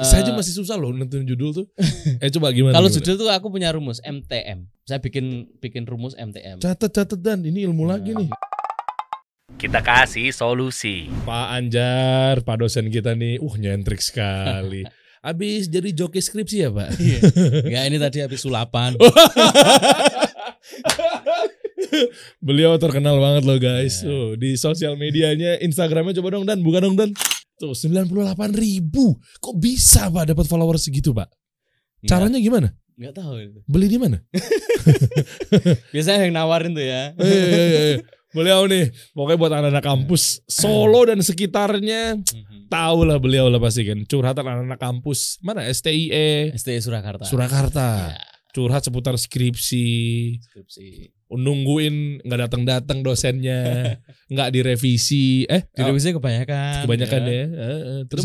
saya aja masih susah loh nentuin judul tuh. eh coba gimana? Eh, Kalau gimana? judul tuh aku punya rumus MTM. Saya bikin bikin rumus MTM. catet catet dan ini ilmu lagi nih. Kita kasih solusi. Pak Anjar, Pak dosen kita nih, uh nyentrik sekali. Abis jadi joki skripsi ya Pak? Enggak, Iya. ini tadi habis sulapan. Beliau terkenal banget loh Iya. guys. Tuh, di sosial medianya, Instagramnya coba dong dan buka dong dan. Tuh 98 ribu. Kok bisa Pak dapat followers segitu Pak? Iya. Caranya gimana? Enggak tahu itu. Beli di mana? Biasanya yang nawarin tuh ya. Eh, eh, eh, eh. Beliau nih, pokoknya buat anak-anak kampus Solo dan sekitarnya Mm-hmm. tahu lah beliau lah pasti kan curhatan anak-anak kampus mana STIE STI E. Surakarta. Surakarta Ya, curhat seputar skripsi skripsi. nungguin nggak datang datang dosennya nggak direvisi eh oh, Skripsi kebanyakan. kebanyakan ya, Eh, eh. Terus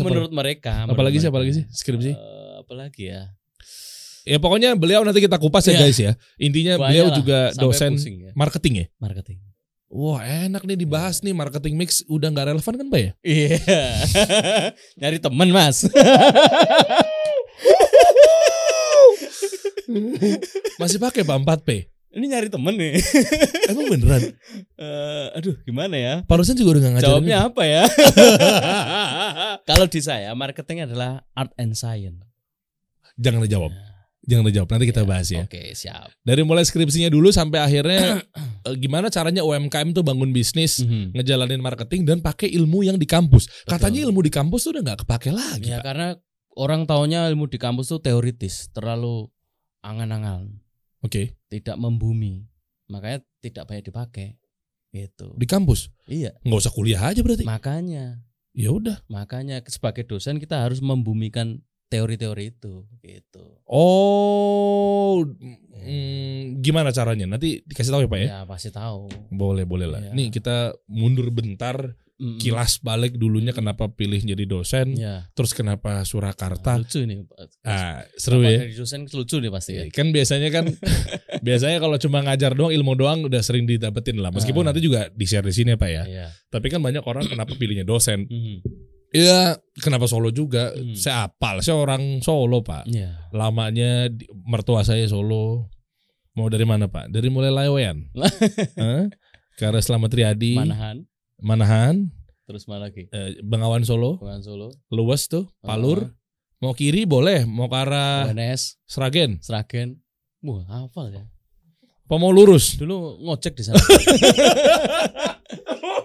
terus apa- Iya. menurut mereka. apalagi sih menurut apalagi sih mereka. skripsi Eh, apalagi ya. ya pokoknya beliau nanti kita kupas ya Iya. guys ya intinya Banyak beliau lah, juga sampai dosen pusing ya. marketing ya marketing. wah enak nih dibahas nih marketing mix udah nggak relevan kan pak ya Iya. Nyari temen, Mas. masih pakai pak 4 p ini nyari temen nih. emang beneran Eh, aduh, gimana ya? Pak dosen juga udah nggak ngajarin Jawabnya apa ya? Kalau di saya marketing adalah art and science. jangan dijawab jangan dijawab nanti kita Ya, bahas ya Oke, siap. dari mulai skripsinya dulu sampai akhirnya eh, gimana caranya UMKM tuh bangun bisnis Mhm. ngejalanin marketing dan pakai ilmu yang di kampus katanya ilmu di kampus tuh udah nggak kepake lagi Ya Pak. karena orang taunya ilmu di kampus tuh teoritis, terlalu angan-angan, oke tidak membumi. Makanya tidak banyak dipakai. Gitu. di kampus Iya, nggak usah kuliah aja berarti makanya ya udah makanya sebagai dosen kita harus membumikan teori-teori itu gitu. oh mm, gimana caranya nanti dikasih tahu ya pak ya, Ya pasti tahu. boleh boleh lah Iya. Hmm. nih kita mundur bentar Mm-mm. kilas balik dulunya kenapa pilih jadi dosen Ya, terus kenapa Surakarta lucu nih. ah, seru ya Dari dosen lucu nih pasti ya. Iya, Kan biasanya kan biasanya kalau cuma ngajar doang ilmu doang udah sering didapetin lah. Meskipun Ah. nanti juga di share di sini ya, Pak ya. Iya. Tapi kan banyak orang kenapa pilihnya dosen. Mhm. Iya, kenapa Solo juga? Hmm. Saya apal, saya orang Solo, Pak. Iya. Lamanya di- mertua saya Solo. Mau dari mana, Pak? Dari mulai Lawean. Hah? Karena Slamet Triadi, Manahan, Manahan, terus mana lagi? eh, Bengawan Solo, Bukan Solo, luas tuh, Ah. Palur. Mau kiri boleh, mau ke arah UNS, Sragen. Sragen. Wah, hafal ya. Apa mau lurus? Dulu ngojek di sana.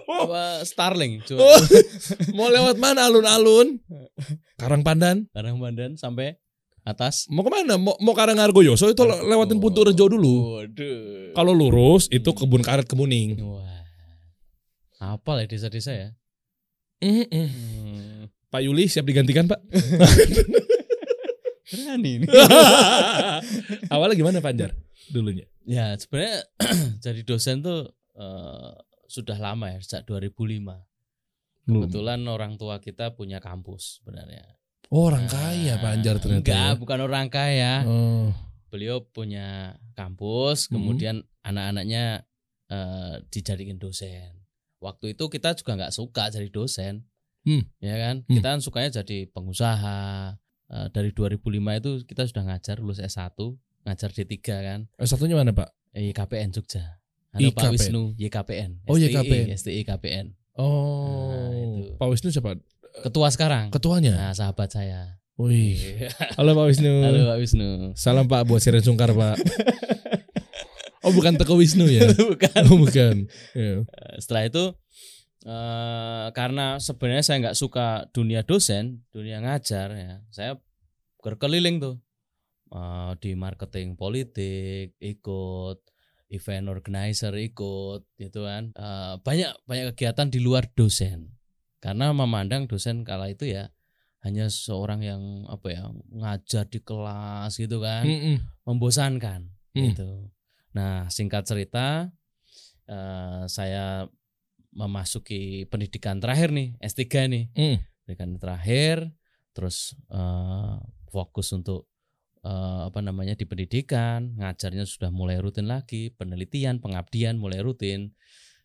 Apa Starling, coba. Oh. Mau lewat mana alun-alun? Karang Pandan. Karang Bandan sampai atas. Mau kemana? Mau, mau Karang Argoyoso itu le- lewatin Puntu Rejo dulu. Waduh. Kalau lurus itu kebun karet kemuning. Wah. Hafal ya desa-desa ya. Mm-mm. Hmm. Pak Yuli siap digantikan Pak? Berani ini. Awalnya gimana Pak Anjar? Dulunya. ya, sebenarnya jadi dosen tuh eh, sudah lama ya, sejak 2005. Hmm. Kebetulan orang tua kita punya kampus sebenarnya. Oh, orang Nah, kaya Pak Anjar ternyata. Enggak, ya. bukan orang kaya. Oh. Beliau punya Mhm. kampus, kemudian anak-anaknya eh, dijadikan dosen. Waktu itu kita juga nggak suka jadi dosen, Hmm. ya kan? Hmm. Kita kan sukanya jadi pengusaha. Eh, dari 2005 itu kita sudah ngajar lulus S1, ngajar D3 kan, Eh, satunya mana Pak? YKPN Jogja. Halo Pak IKPN. Wisnu, YKPN. Oh, STI, YKPN. STI KPN. Oh, itu. Pak Wisnu siapa? Ketua sekarang. Ketuanya. Nah, sahabat saya. Wih. Iya. Halo Pak Wisnu. Halo Pak Wisnu. Salam Pak buat Siren Sungkar Pak. Oh bukan Teko Wisnu ya? Bukan. Oh bukan. Ya. Setelah itu eh karena sebenarnya saya nggak suka dunia dosen, dunia ngajar ya. Saya berkeliling tuh Eh, di marketing politik ikut event organizer ikut gitu kan Eh, banyak banyak kegiatan di luar dosen karena memandang dosen kala itu ya hanya seorang yang apa ya ngajar di kelas gitu kan Mm-mm. membosankan Hmm. gitu. Nah, singkat cerita eh, saya memasuki pendidikan terakhir nih, S3 nih. Mm. Pendidikan terakhir terus eh, fokus untuk eh, apa namanya di pendidikan, ngajarnya sudah mulai rutin lagi, penelitian, pengabdian mulai rutin.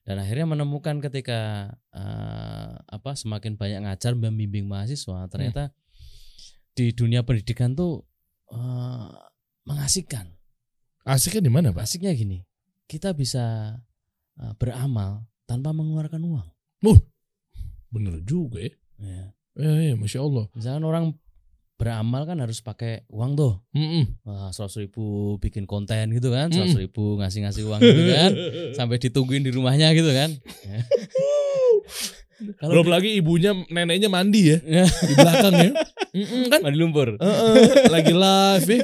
Dan akhirnya menemukan ketika eh, apa semakin banyak ngajar membimbing mahasiswa, ternyata di dunia pendidikan tuh eh, mengasihkan. Asiknya di mana, Pak? Asiknya gini, kita bisa eh, beramal tanpa mengeluarkan uang. Bener juga ya. Ya. Eh, masya Allah. Misalkan orang beramal kan harus pakai uang tuh, E, Mm-mm. seratus ribu bikin konten gitu kan, Mm. seratus ribu ngasih-ngasih uang gitu kan, sampai ditungguin di rumahnya gitu kan. Ya. Kalau Belum lagi ibunya, neneknya mandi ya Ya. di belakang ya. Mm-mm, kan? mandi lumpur. Heeh, lagi live ya.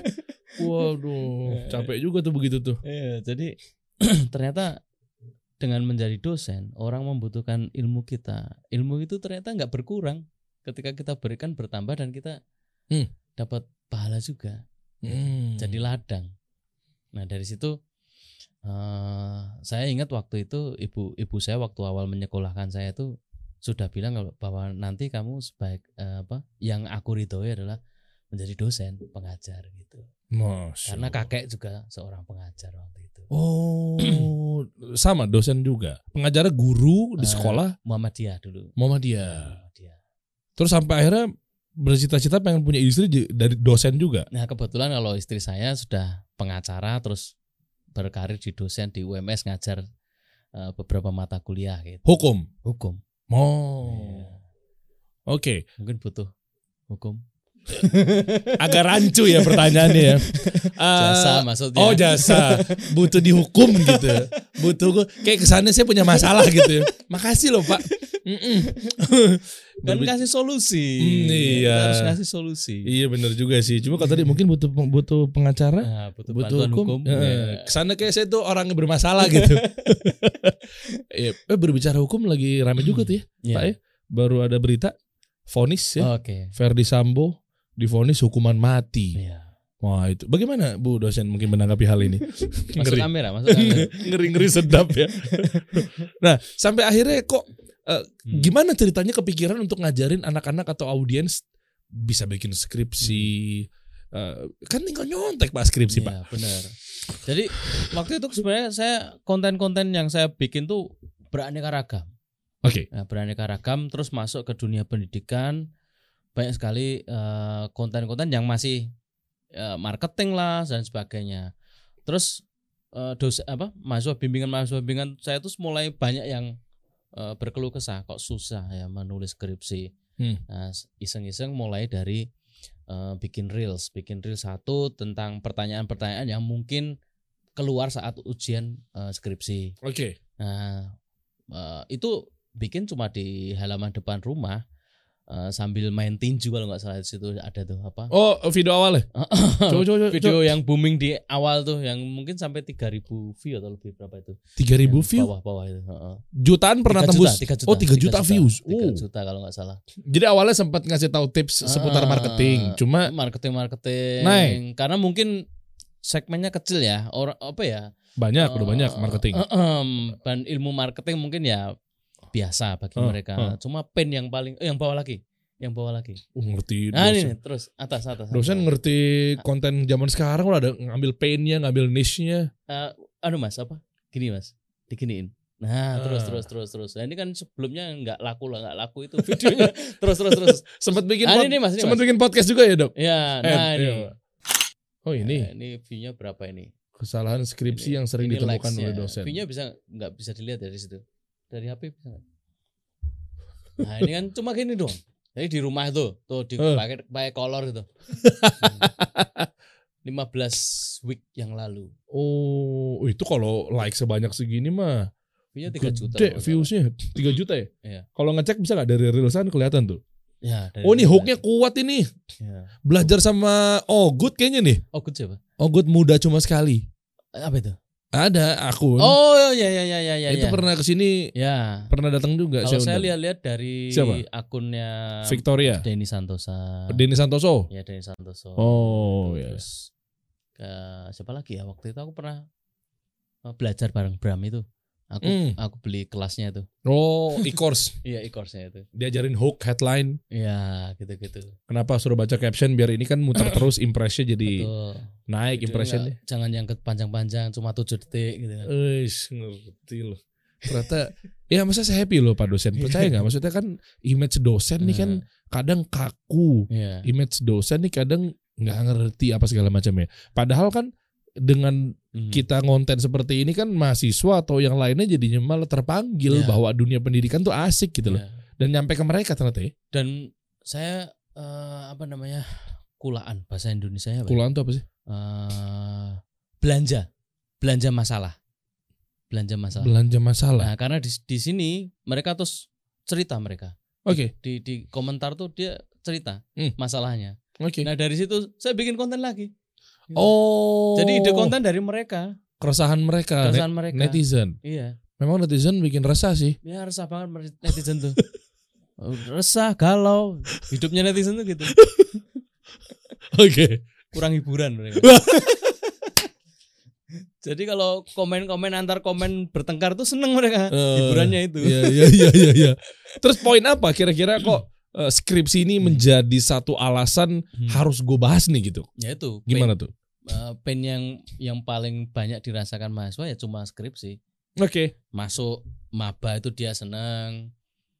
Waduh, capek juga tuh begitu tuh. Iya, jadi ternyata dengan menjadi dosen, orang membutuhkan ilmu kita. Ilmu itu ternyata nggak berkurang ketika kita berikan bertambah dan kita Hmm. dapat pahala juga. Hmm. Jadi ladang. Nah dari situ eh, saya ingat waktu itu ibu ibu saya waktu awal menyekolahkan saya itu sudah bilang kalau bahwa nanti kamu sebaik eh, apa yang aku ridhoi adalah menjadi dosen pengajar gitu. Masya Karena Allah. kakek juga seorang pengajar waktu itu. Oh, sama dosen juga. Pengajarnya guru di Eh. sekolah Muhammadiyah dulu. Muhammadiyah. Muhammadiyah. Terus sampai akhirnya bercita-cita pengen punya istri j- dari dosen juga. Nah kebetulan kalau istri saya sudah pengacara terus berkarir di dosen di UMS ngajar eh, beberapa mata kuliah gitu. Hukum. Hukum. Oh. Iya. Oke, Mungkin butuh hukum. agak rancu ya pertanyaannya ya. Eh, Jasa maksudnya. Oh jasa, butuh dihukum gitu, butuh gue kayak kesannya saya punya masalah gitu. ya. Makasih loh pak. Mm-mm. Kan Berbi- kasih solusi. Hmm, iya. Kita Harus ngasih solusi. Iya benar juga sih. Cuma kalau tadi mungkin butuh butuh pengacara, Nah, butuh, butuh bantuan hukum. hukum. iya. Eh, Kesannya kayak saya tuh orang yang bermasalah gitu. Iya, eh, berbicara hukum lagi rame juga tuh ya, Iya. Pak ya. Baru ada berita vonis ya, Oke. Verdi Sambo divonis hukuman mati. Iya. Wah itu bagaimana Bu dosen mungkin menanggapi hal ini? Masuk Ngeri. kamera, masuk kamera. Hmm. ngeri ngeri sedap ya. nah sampai akhirnya kok Hmm. gimana ceritanya kepikiran untuk ngajarin anak-anak atau audiens bisa bikin skripsi? Eh, kan tinggal nyontek pak skripsi pak. Iya, benar. Jadi waktu itu sebenarnya saya konten-konten yang saya bikin tuh beraneka ragam. Oke. Nah, beraneka ragam terus masuk ke dunia pendidikan banyak sekali eh, konten-konten yang masih eh, marketing lah dan sebagainya. Terus eh, dosa apa mahasiswa bimbingan mahasiswa bimbingan saya terus mulai banyak yang eh, berkeluh kesah kok susah ya menulis skripsi. Hmm. Nah, iseng-iseng mulai dari eh, bikin reels, bikin reels satu tentang pertanyaan-pertanyaan yang mungkin keluar saat ujian eh, skripsi. Oke. Nah, eh, itu bikin cuma di halaman depan rumah eh, sambil main tinju kalau nggak salah di situ ada tuh apa? Oh video awalnya. Coba coba coba. Video yang booming di awal tuh yang mungkin sampai 3000 view atau lebih berapa itu? tiga ribu Yang view, Bawah-bawah itu. heeh. jutaan pernah 3 tembus. Juta, 3 juta, oh 3 juta, views. 3 Oh. juta kalau nggak salah. Jadi awalnya sempat ngasih tahu tips seputar Ah. marketing. Cuma marketing marketing. Naik. Karena mungkin segmennya kecil ya. Orang apa ya? banyak udah Eh, banyak marketing. eh, em, dan ilmu marketing mungkin ya biasa bagi Eh, mereka. eh. Cuma pen yang paling eh, yang bawah lagi, yang bawah lagi. Oh, ngerti. Nah dosen. ini nih, terus atas atas. Dosen atas. ngerti konten zaman sekarang udah ada ngambil painnya, ngambil niche-nya. Eh, aduh mas apa? Gini mas, diginiin. Nah terus Ah. terus terus terus. Nah, ini kan sebelumnya nggak laku lah nggak laku itu videonya. terus terus terus. Sempat bikin Ah, pod- ini nih mas, ini sempat mas. bikin podcast juga ya, Dok? Ya, Eh, nah ini. iya. Oh, Nah, ini ini view-nya berapa ini? kesalahan skripsi Ini- yang sering ini ditemukan likes-nya. oleh dosen. ya. View-nya bisa nggak bisa dilihat dari situ? Dari HP bisa nggak? Nah ini kan cuma gini dong. Jadi di rumah tuh, tuh Eh. dipakai pakai kolor gitu. 15 week yang lalu. Oh, itu kalau like sebanyak segini mah View-nya 3 Iya, gede juta. kalau nggak salah. views-nya 3 juta ya? Iya. Kalau ngecek bisa nggak dari reelsan kelihatan tuh. Ya, dari Oh, ini rumah. hooknya kuat ini. Ya. Belajar sama oh good kayaknya nih. Oh, good siapa? Oh good muda cuma sekali. Apa itu? Ada akun. Oh, ya ya ya ya ya. itu ya. pernah kesini Ya. pernah datang juga Kalau saya ah, undang. lihat-lihat dari Siapa? akunnya Victoria, Denny Santosa. Denny Santoso. Ya Denny Santoso. Oh, iya. ya. Terus ke siapa lagi ya waktu itu aku pernah eh, belajar bareng Bram itu. Aku Hmm. aku beli kelasnya itu. Oh, e-course. Iya, e-course-nya itu. Diajarin hook headline. Iya, gitu-gitu. Kenapa suruh baca caption biar ini kan muter terus impresnya jadi Betul. naik Jadi impressionnya. nggak- Jangan yang ke- panjang-panjang cuma 7 detik gitu kan. Eish, ngerti loh. Ternyata ya masa saya happy loh Pak dosen. Percaya nggak? Maksudnya kan image dosen nih kan Nah. kadang kaku Iya. image dosen nih kadang nggak ngerti apa segala macam ya padahal kan dengan Mhm. kita ngonten seperti ini kan mahasiswa atau yang lainnya jadinya malah terpanggil Iya. bahwa dunia pendidikan tuh asik gitu loh Iya. dan nyampe ke mereka ternyata ya Dan saya eh, apa namanya? kulaan bahasa Indonesia apa? ya? kulaan tuh apa sih Eh, belanja. Belanja masalah. Belanja masalah. belanja masalah Nah, karena di, di sini mereka terus cerita mereka. oke Di di komentar tuh dia cerita Hmm. masalahnya. oke Nah, dari situ saya bikin konten lagi. oh Jadi ide konten dari mereka, keresahan mereka keresahan mereka. netizen Iya. memang netizen bikin resah sih Ya resah banget mer- netizen tuh. resah, galau. Hidupnya netizen tuh gitu. oke Kurang hiburan mereka. Jadi kalau komen-komen antar komen bertengkar tuh seneng mereka. Eh, hiburannya itu. Iya iya iya iya. iya. Terus poin apa kira-kira kok eh, skripsi ini menjadi satu alasan Hmm. harus gue bahas nih gitu? Ya itu. pain- Gimana tuh? eh, pain yang yang paling banyak dirasakan mahasiswa ya cuma skripsi. Oke. Masuk maba itu dia seneng.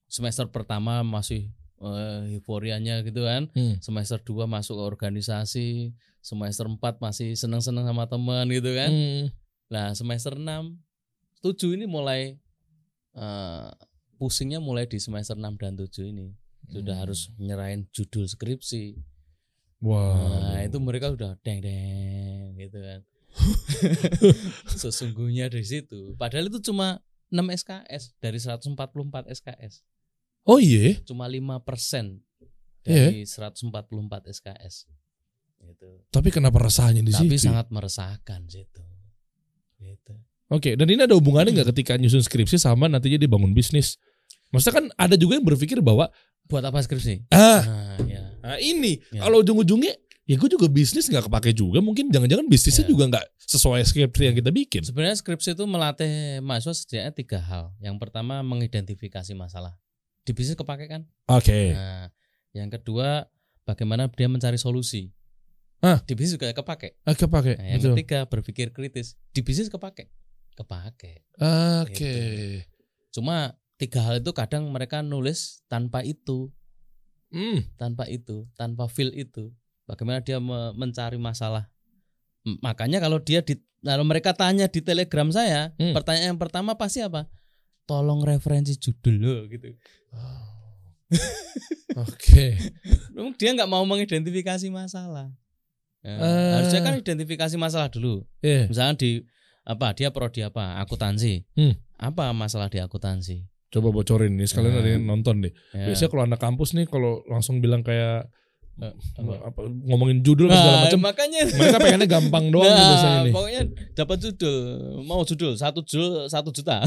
Semester pertama masih eh, euforianya gitu kan. Hmm. semester 2 masuk ke organisasi, semester 4 masih seneng-seneng sama teman gitu kan. Hmm. Nah, semester 6 7 ini mulai eh, pusingnya mulai di semester 6 dan 7 ini. Sudah Hmm. harus nyerahin judul skripsi. Wah. Nah, Hmm. itu mereka udah deng deng gitu kan. Sesungguhnya dari situ. Padahal itu cuma 6 SKS dari 144 SKS. Oh iya. Cuma 5% Iya. dari 144 SKS. Gitu. Tapi kenapa resahnya di tapi situ? ya? sangat meresahkan situ gitu Oke. Dan ini ada hubungannya nggak ketika nyusun skripsi sama nantinya dia bangun bisnis? Maksudnya kan ada juga yang berpikir bahwa buat apa skripsi ah nah, ya ah, ini Ya. kalau ujung-ujungnya ya gue juga bisnis nggak kepake juga mungkin jangan-jangan bisnisnya Ya. juga nggak sesuai skripsi yang kita bikin. sebenarnya skripsi itu melatih mahasiswa setidaknya tiga hal yang pertama mengidentifikasi masalah di bisnis kepake kan Oke. nah yang kedua bagaimana dia mencari solusi Ah. di bisnis juga kepake Oke pakai. nah, yang ketiga berpikir kritis di bisnis kepake kepake Oke. Ya, cuma tiga hal itu kadang mereka nulis tanpa itu Hmm. tanpa itu, tanpa feel itu. Bagaimana dia me- mencari masalah? M- Makanya kalau dia di kalau mereka tanya di Telegram saya, Hmm. pertanyaan yang pertama pasti apa? Tolong referensi judul lo gitu. Oke. Memang dia nggak mau mengidentifikasi masalah. Ya, Eh. Harusnya kan identifikasi masalah dulu. Iya. Misalnya di apa? Dia prodi apa? Akuntansi. Hmm. Apa masalah di akuntansi? Coba bocorin nih sekalian Nah. ada yang nonton deh. Ya. Biasanya kalau anak kampus nih kalau langsung bilang kayak Eh, apa, ngomongin judul apa segala Nah, macam, makanya mereka pengennya gampang doang nah, tuh biasanya nih. Pokoknya dapat judul, mau judul satu judul satu juta.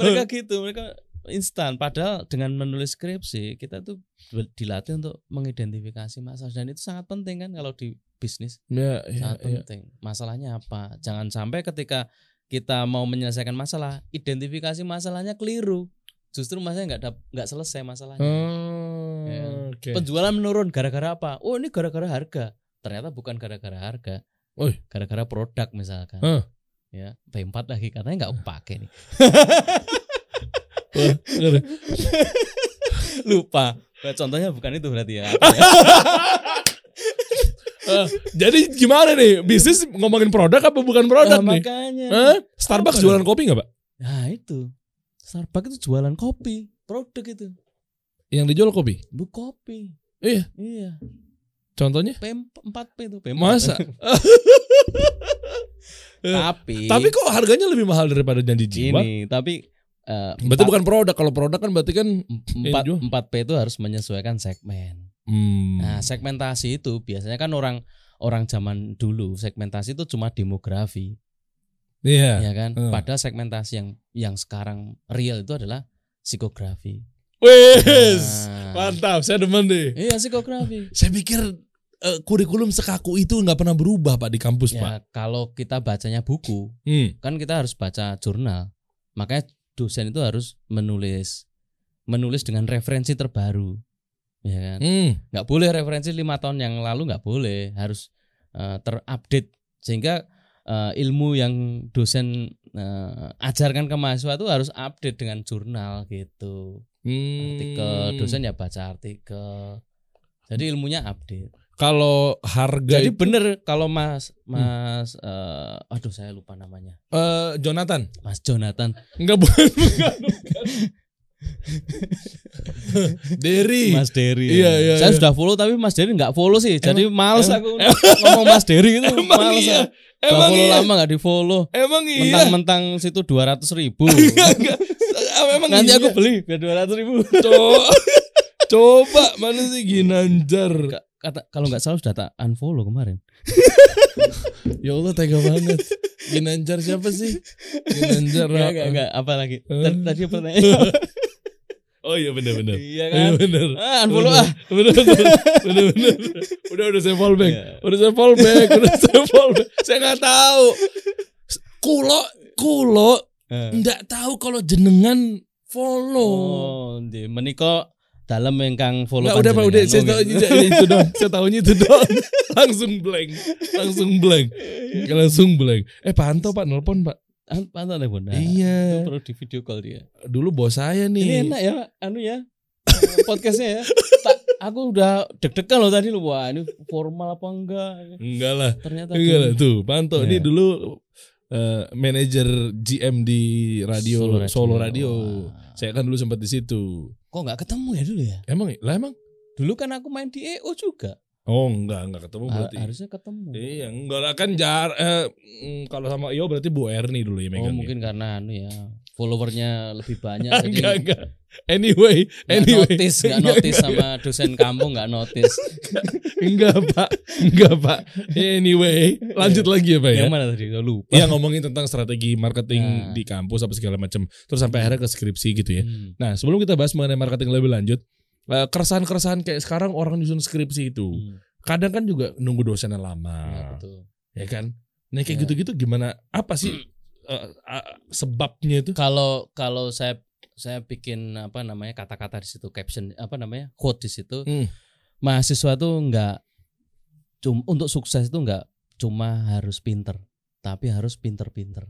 mereka gitu, mereka instan. Padahal dengan menulis skripsi kita tuh be- dilatih untuk mengidentifikasi masalah dan itu sangat penting kan kalau di bisnis ya, ya, sangat ya. penting. Masalahnya apa? Jangan sampai ketika kita mau menyelesaikan masalah, identifikasi masalahnya keliru. Justru masalahnya nggak dap- nggak selesai masalahnya. Oh, Ya. Oke. Penjualan menurun gara-gara apa? Oh ini gara-gara harga. Ternyata bukan gara-gara harga. Woi. Gara-gara produk misalkan. Hah. Ya, P4 lagi katanya nggak pakai nih. Wah, ngeri. Lupa. Nah, contohnya bukan itu berarti ya. Eh, jadi gimana nih bisnis ngomongin produk apa bukan produk Nah, nih? makanya. Eh, Starbucks Apa jualan kopi nggak pak? Nah, itu. Starbucks itu jualan kopi, produk itu. Yang dijual kopi? Bu kopi. Iya. Iya. Contohnya? P4P itu. P4. Masa? Tapi. Tapi kok harganya lebih mahal daripada janji jiwa? ini, tapi eh, Berarti bukan produk. Kalau produk kan berarti kan Ini empat, juga. empat P itu harus menyesuaikan segmen. hmm, Nah, segmentasi itu biasanya kan orang orang zaman dulu segmentasi itu cuma demografi, iya. ya kan? eh. Padahal segmentasi yang yang sekarang real itu adalah psikografi. Wes, Nah, mantap. Saya demen deh. iya psikografi. Saya pikir eh, kurikulum sekaku itu nggak pernah berubah pak di kampus pak. Ya, kalau kita bacanya buku, Hmm. kan kita harus baca jurnal. Makanya dosen itu harus menulis menulis dengan referensi terbaru. Ya kan? Hmm. nggak boleh referensi lima tahun yang lalu nggak boleh harus eh, terupdate sehingga eh, ilmu yang dosen eh, ajarkan ke mahasiswa itu harus update dengan jurnal gitu artikel Hmm. dosen ya baca artikel jadi ilmunya update Kalau harga jadi itu- bener kalau mas mas eh, aduh saya lupa namanya Eh, Jonathan, mas Jonathan enggak bukan. bukan, bukan. Derry. mas Dery Iya, iya, saya iya. sudah follow tapi mas Dery nggak follow sih jadi males emang- aku ngomong mas Dery itu Emang males iya. aku. Udah Emang follow iya. lama nggak di follow Emang iya. mentang-mentang situ dua ratus ribu Enggak, Emang nanti iya. aku beli biar dua ratus ribu Co- Coba mana sih Ginanjar? Ka- kata kalau nggak salah sudah tak unfollow kemarin Ya Allah tega banget. Ginanjar siapa sih? Ginanjar. nggak nggak nggak apa lagi Iya, Eh. tadi apa nanya Oh iya benar-benar. iya Iya kan benar. ah, unfollow ah Bener bener bener bener. Udah udah saya fall back. Iya. Udah saya fall back. Udah saya fall back. Saya nggak tahu. Kulo kulo Eh. nggak tahu kalau jenengan follow. Oh, ndi. menika dalam ingkang follow Nggak udah pak udah saya tahu panjenengan. Oh, itu itu dong. Saya tahunya itu dong. Langsung blank. Langsung blank. Iya. Langsung blank. Eh Pak Anto Pak nelpon Pak. Ah, pantas deh, Bunda. Itu Iya. perlu di video call dia. Dulu bos saya Ini nih. enak ya, Pak. anu ya. Podcastnya ya. Tak- aku udah deg-degan loh tadi loh. Wah, ini formal apa enggak? Enggak lah. Ternyata Enggak lah gini. tuh Panto Iya. ini dulu eh, manajer GM di radio Solo Solo Radio. Radio. Ah. Wah. Saya kan dulu sempat di situ. Kok enggak ketemu ya dulu ya? Emang lah emang? Dulu kan aku main di EO juga. Oh enggak enggak ketemu Ah, berarti. Harusnya ketemu. Oh, Iya enggak lah kan jar eh, mm, kalau sama Iyo berarti Bu Erni dulu ya Oh megangnya. mungkin karena anu ya followernya lebih banyak Ah, jadi enggak enggak. Anyway nggak anyway notice nggak notice sama dosen kampung nggak notice enggak pak enggak pak anyway lanjut lagi ya pak ya. Iya. yang mana tadi Gua lupa Ya ngomongin tentang strategi marketing Nah. di kampus apa segala macam. Terus sampai akhirnya ke skripsi gitu ya. Hmm. Nah, sebelum kita bahas mengenai marketing lebih lanjut, eh, keresahan-keresahan kayak sekarang orang nyusun skripsi itu, Hmm. kadang kan juga nunggu dosennya Ya, lama, betul. ya kan? Nah, kayak Ya. gitu-gitu gimana? Apa sih eh, eh, sebabnya itu? kalau kalau saya saya bikin apa namanya kata-kata di situ caption apa namanya quote di situ Hmm. mahasiswa tuh nggak cum untuk sukses itu nggak cuma harus pinter tapi harus pinter-pinter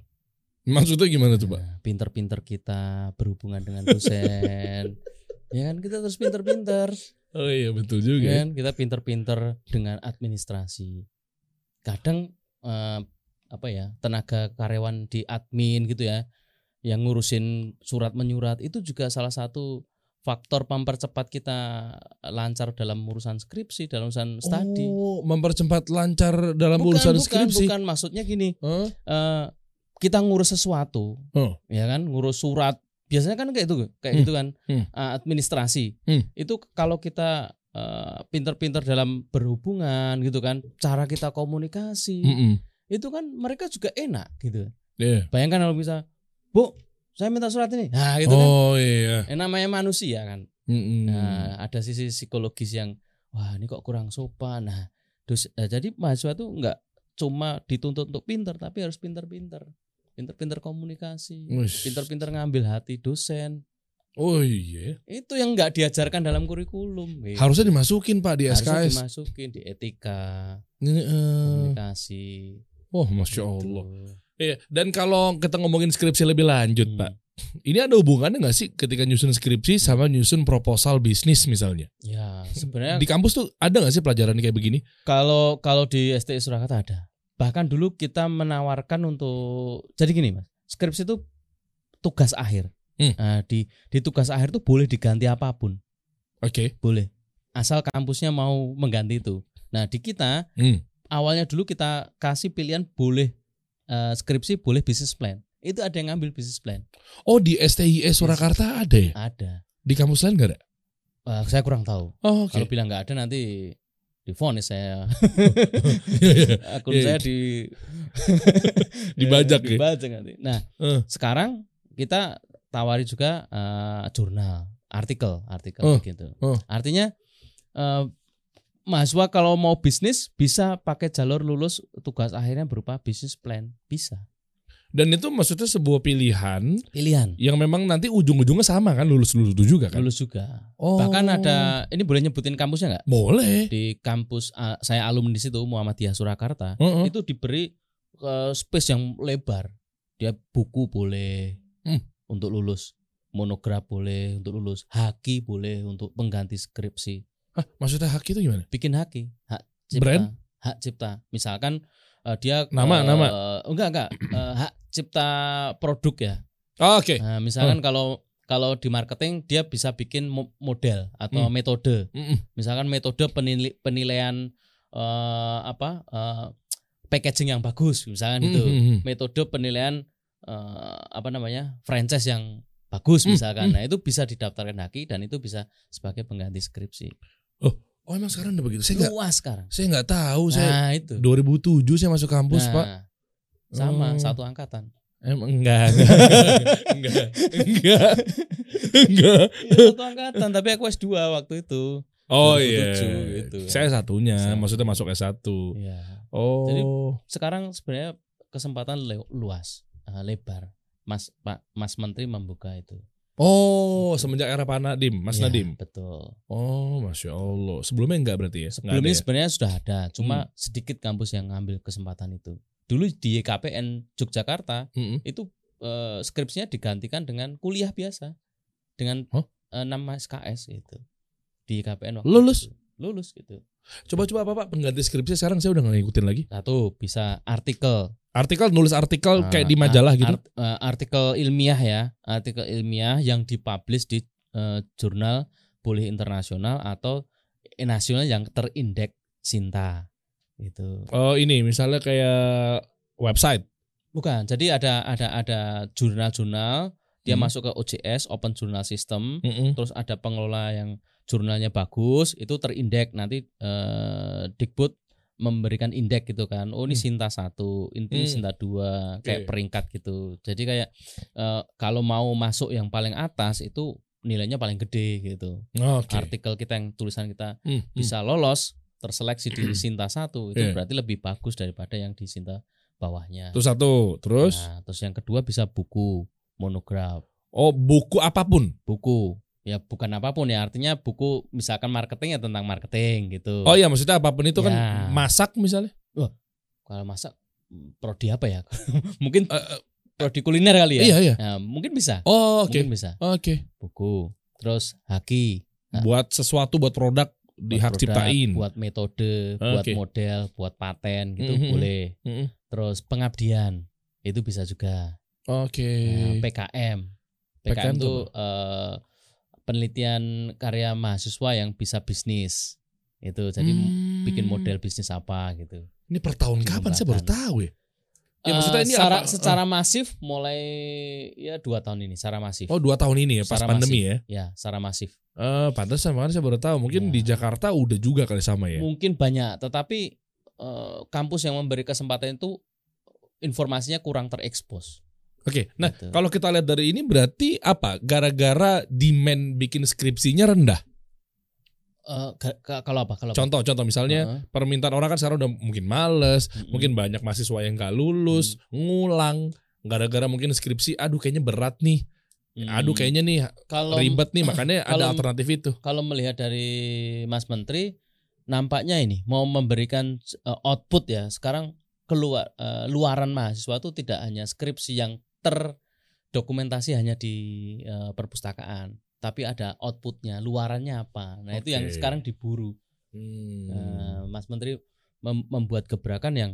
Maksudnya gimana tuh, Pak? Nah, pinter-pinter kita berhubungan dengan dosen ya kan kita terus pinter-pinter Oh iya, betul juga. ya ya. kan kita pinter-pinter dengan administrasi kadang eh, apa ya tenaga karyawan di admin gitu ya yang ngurusin surat menyurat itu juga salah satu faktor mempercepat kita lancar dalam urusan skripsi dalam urusan studi Oh, mempercepat lancar dalam urusan skripsi. bukan maksudnya gini Hah? eh, kita ngurus sesuatu, Oh. ya kan, ngurus surat. Biasanya kan kayak itu, kayak Hmm. itu kan, Hmm. eh, administrasi. Hmm. Itu kalau kita eh, pinter-pinter dalam berhubungan gitu kan, cara kita komunikasi, Mm-mm. itu kan mereka juga enak gitu. Iya. Bayangkan kalau bisa, bu, saya minta surat ini, nah gitu kan. Oh iya. Eh, namanya manusia kan. Mm-mm. Nah, Hmm. ada sisi psikologis yang, wah ini kok kurang sopan. Nah, dus- eh, jadi mahasiswa tuh nggak cuma dituntut untuk pinter, tapi harus pinter-pinter, pinter-pinter komunikasi, Wih. pinter-pinter ngambil hati dosen. Oh iya. Itu yang nggak diajarkan dalam kurikulum. gitu. Harusnya dimasukin Pak di Harusnya SKS. dimasukin di etika, Ini, eh, komunikasi. Wah, masya gitu. Hmm. Ya Allah. Iya, dan kalau kita ngomongin skripsi lebih lanjut, Hmm. Pak. Ini ada hubungannya nggak sih ketika nyusun skripsi sama nyusun proposal bisnis misalnya? Ya, sebenarnya Di kampus tuh ada nggak sih pelajaran kayak begini? Kalau kalau di STI Surakarta ada. Bahkan dulu kita menawarkan untuk jadi gini mas, skripsi itu tugas akhir. Hmm. Nah, di di tugas akhir itu boleh diganti apapun, Oke. boleh. Asal kampusnya mau mengganti itu. Nah di kita Hmm. awalnya dulu kita kasih pilihan boleh eh, skripsi, boleh bisnis plan. Itu ada yang ngambil bisnis plan, Oh di STIE Surakarta ada ya? ada. Di kampus lain nggak ada? Eh, saya kurang tahu. Oh, Kalau bilang nggak ada nanti difonis saya Iya, iya. akun Iya, saya di Dibajak ya? dibajak nanti. Nah, Eh. sekarang kita tawari juga eh, jurnal, artikel, artikel Eh, gitu. eh. Artinya eh, mahasiswa kalau mau bisnis bisa pakai jalur lulus tugas akhirnya berupa bisnis plan, bisa. Dan itu maksudnya sebuah pilihan Pilihan. yang memang nanti ujung-ujungnya sama kan lulus lulus itu juga kan? Lulus juga. Oh. Bahkan ada ini boleh nyebutin kampusnya nggak? Boleh. Di kampus eh, saya alumni di situ Muhammadiyah Surakarta. Heeh. itu diberi eh, space yang lebar. Dia buku boleh Hmm. untuk lulus, monograf boleh untuk lulus, haki boleh untuk pengganti skripsi. Hah, maksudnya hak itu gimana? Bikin haki, hak cipta. Brand? Hak cipta. Misalkan eh, dia Nama, eh, nama. Enggak, enggak. Eh, hak cipta produk ya. Oh, Oke. Nah, misalkan kalau kalau di marketing dia bisa bikin mo- model Hmm. atau metode. Mm-mm. Misalkan metode penili- penilaian eh, apa? eh, packaging yang bagus misalkan gitu. Mm-mm. Metode penilaian eh, apa namanya? franchise yang bagus Hmm, misalkan. hmm. Nah, itu bisa didaftarkan haki dan itu bisa sebagai pengganti skripsi. Oh emang sekarang udah begitu? Saya nggak, Luas sekarang. saya nggak tahu. Saya Nah, itu. 2007 saya masuk kampus Nah, pak. Sama, Hmm. satu angkatan. Emang enggak, enggak, enggak, enggak, enggak. Iya, satu angkatan, tapi aku S2 waktu itu. Oh 2007 iya, gitu. saya satunya, Sama. maksudnya masuk S 1 Iya. Oh, Jadi- sekarang sebenarnya kesempatan le- luas eh, lebar mas pak mas menteri membuka itu oh semenjak era Pak Nadim, Mas Ya, Nadim. betul Oh, masya Allah. Sebelumnya enggak berarti ya? Enggak sebelumnya ada ya? Hmm. sebenarnya sudah ada cuma sedikit kampus yang ngambil kesempatan itu dulu di YKPN Yogyakarta Mm-mm. itu eh, skripsinya digantikan dengan kuliah biasa dengan Hah? eh, nama SKS itu gitu, di YKPN waktu Lulus? itu. lulus gitu Coba-coba apa pak pengganti skripsi sekarang saya udah nggak ngikutin lagi. satu bisa artikel Artikel nulis artikel Nah, kayak di majalah ar- gitu. art- eh, artikel ilmiah ya, artikel ilmiah yang dipublish di eh, jurnal boleh internasional atau nasional yang terindeks Sinta. gitu. Itu. Oh ini misalnya kayak website. Bukan, jadi ada ada ada jurnal-jurnal dia Hmm. masuk ke OJS Open Journal System, Mm-mm. terus ada pengelola yang jurnalnya bagus, itu terindeks nanti eh, Dikbud memberikan indeks gitu kan. Oh, ini Hmm. Sinta 1, ini Hmm. Iya. Sinta 2, kayak Oke. peringkat gitu. Jadi kayak eh, kalau mau masuk yang paling atas itu nilainya paling gede gitu. Oke. Artikel kita yang tulisan kita Mm, mm. bisa lolos terseleksi di Sinta 1 itu Iya. berarti lebih bagus daripada yang di Sinta bawahnya. Itu satu. Terus Nah, terus yang kedua bisa buku monograf oh buku apapun. buku ya bukan apapun ya artinya buku misalkan marketing ya tentang marketing gitu Oh iya maksudnya apapun itu kan Ya. masak misalnya. kalau masak mm, prodi apa ya mungkin Eh, eh, prodi kuliner kali ya Iya iya. Nah, mungkin bisa Oh oke. mungkin bisa Oke. buku terus haki Nah. Buat sesuatu buat produk di buat hak produk, ciptain. buat metode Ah, buat oke. model buat paten gitu Mhm. boleh Mm-mm. terus pengabdian itu bisa juga Oke. Nah, PKM PKM PKM itu itu eh, penelitian karya mahasiswa yang bisa bisnis itu jadi Hmm. bikin model bisnis apa gitu. Ini per tahun kapan saya baru Dikembangkan. tahu ya. Ya, maksudnya Eh, ini secara, apa- secara masif mulai ya dua tahun ini secara masif. Oh dua tahun ini ya pas Secara pandemi ya. Ya, secara masif. Eh pantesan makanya saya baru tahu. Mungkin Ya. di Jakarta udah juga kali sama ya. Mungkin banyak, tetapi eh, kampus yang memberi kesempatan itu informasinya kurang terekspos. Oke. Nah Gitu. kalau kita lihat dari ini berarti apa? Gara-gara demand bikin skripsinya rendah. Eh, ga- ga- kalau apa? Kalau apa? Contoh-contoh misalnya Heeh. permintaan orang kan sekarang udah mungkin males, Mm-mm. mungkin banyak mahasiswa yang nggak lulus, Hmm. ngulang, gara-gara mungkin skripsi, aduh kayaknya berat nih, Mm. aduh kayaknya nih kalau ribet nih, makanya ada kalau- alternatif itu. kalau melihat dari Mas Menteri nampaknya ini mau memberikan eh, output ya sekarang keluar eh, luaran mahasiswa itu tidak hanya skripsi yang terdokumentasi hanya di eh, perpustakaan tapi ada outputnya luarannya apa nah itu yang Oke. sekarang diburu Hmm. Eh, Mas Menteri mem- membuat gebrakan yang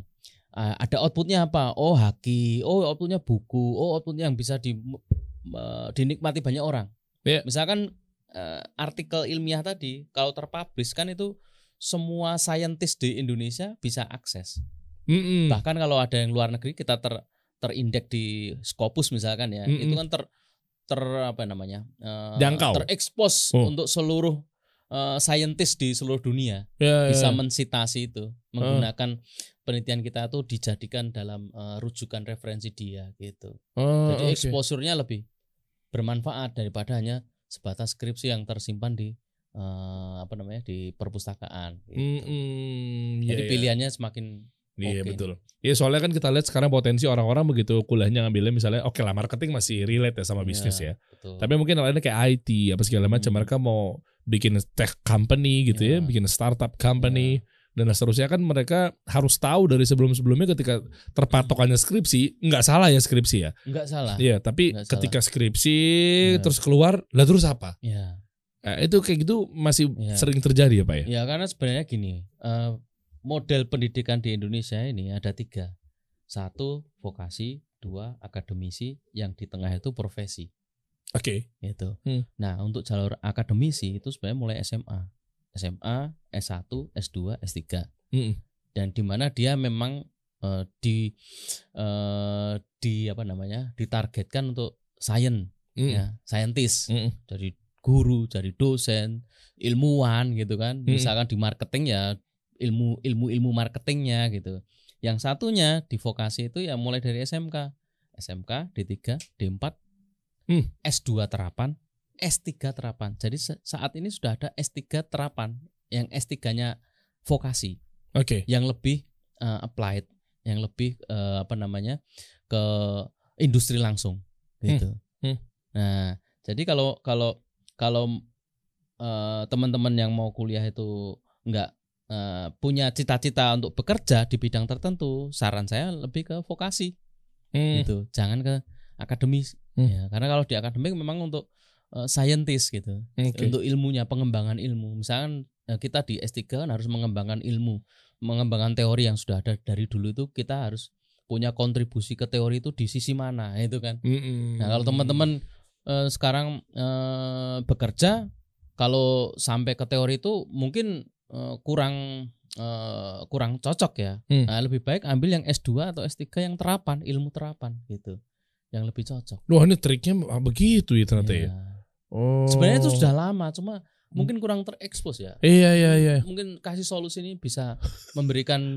eh, ada outputnya apa oh haki oh outputnya buku oh outputnya yang bisa di eh, dinikmati banyak orang Iya. misalkan eh, artikel ilmiah tadi kalau terpublish kan itu semua saintis di Indonesia bisa akses Mm-mm. bahkan kalau ada yang luar negeri kita ter terindeks di Scopus misalkan ya Mm-mm. itu kan ter ter apa namanya hmm. eh, Jangkau. terekspos Oh. untuk seluruh eh, saintis di seluruh dunia Ya, ya. bisa mensitasi itu Eh. menggunakan penelitian kita tuh dijadikan dalam eh, rujukan referensi dia gitu. Oh, Jadi oke. exposure-nya lebih bermanfaat daripada hanya sebatas skripsi yang tersimpan di eh, apa namanya di perpustakaan. Hmm, Gitu. Mm-mm. Ya, Jadi ya. pilihannya semakin Iya Oke. betul. Ya soalnya kan kita lihat sekarang potensi orang-orang begitu kuliahnya ngambilnya misalnya oke lah marketing masih relate ya sama bisnis ya. Ya, betul. Tapi mungkin yang lainnya kayak IT apa segala macam Hmm. mereka mau bikin tech company gitu ya, Ya. Iya. bikin startup company. dan seterusnya kan mereka harus tahu dari sebelum-sebelumnya ketika terpatokannya skripsi nggak salah ya skripsi ya Enggak salah. Iya tapi nggak salah. ketika skripsi Iya. terus keluar lah terus apa Iya. Nah, itu kayak gitu masih Iya. sering terjadi ya pak ya Ya karena sebenarnya gini, eh, model pendidikan di Indonesia ini ada tiga. Satu vokasi, dua akademisi, yang di tengah itu profesi. oke Itu. Hmm. Nah untuk jalur akademisi itu sebenarnya mulai SMA, SMA, S1, S2, S3. Mm-mm. Dan di mana dia memang eh, di eh, di apa namanya ditargetkan untuk sains, Mm-mm. ya, scientist Mm. Mm-mm. dari guru, dari dosen, ilmuwan gitu kan. Mm-mm. Misalkan di marketing ya ilmu ilmu ilmu marketingnya gitu. Yang satunya di vokasi itu ya mulai dari SMK, SMK D3, D4, Hmm. S2 terapan, S3 terapan. Jadi se- saat ini sudah ada S3 terapan yang S3-nya vokasi oke yang lebih eh, applied, yang lebih eh, apa namanya ke industri langsung gitu. Hmm, hmm. Nah, jadi kalau kalau kalau eh, teman-teman yang mau kuliah itu nggak eh, punya cita-cita untuk bekerja di bidang tertentu, saran saya lebih ke vokasi Mm. gitu, jangan ke akademis. Hmm. Ya, karena kalau di akademik memang untuk eh, scientist gitu Oke. untuk ilmunya pengembangan ilmu misalkan eh, kita di S3 kan harus mengembangkan ilmu mengembangkan teori yang sudah ada dari dulu itu kita harus punya kontribusi ke teori itu di sisi mana itu kan Mm-mm. nah kalau teman-teman eh, sekarang eh, bekerja kalau sampai ke teori itu mungkin eh, kurang eh, kurang cocok ya Hmm. nah, lebih baik ambil yang S2 atau S3 yang terapan ilmu terapan gitu yang lebih cocok Wah ini triknya ah, begitu ya ternyata ya. Ya. Oh. Hmm. sebenarnya itu sudah lama cuma mungkin kurang terekspos ya Iya iya iya. mungkin kasih solusi ini bisa memberikan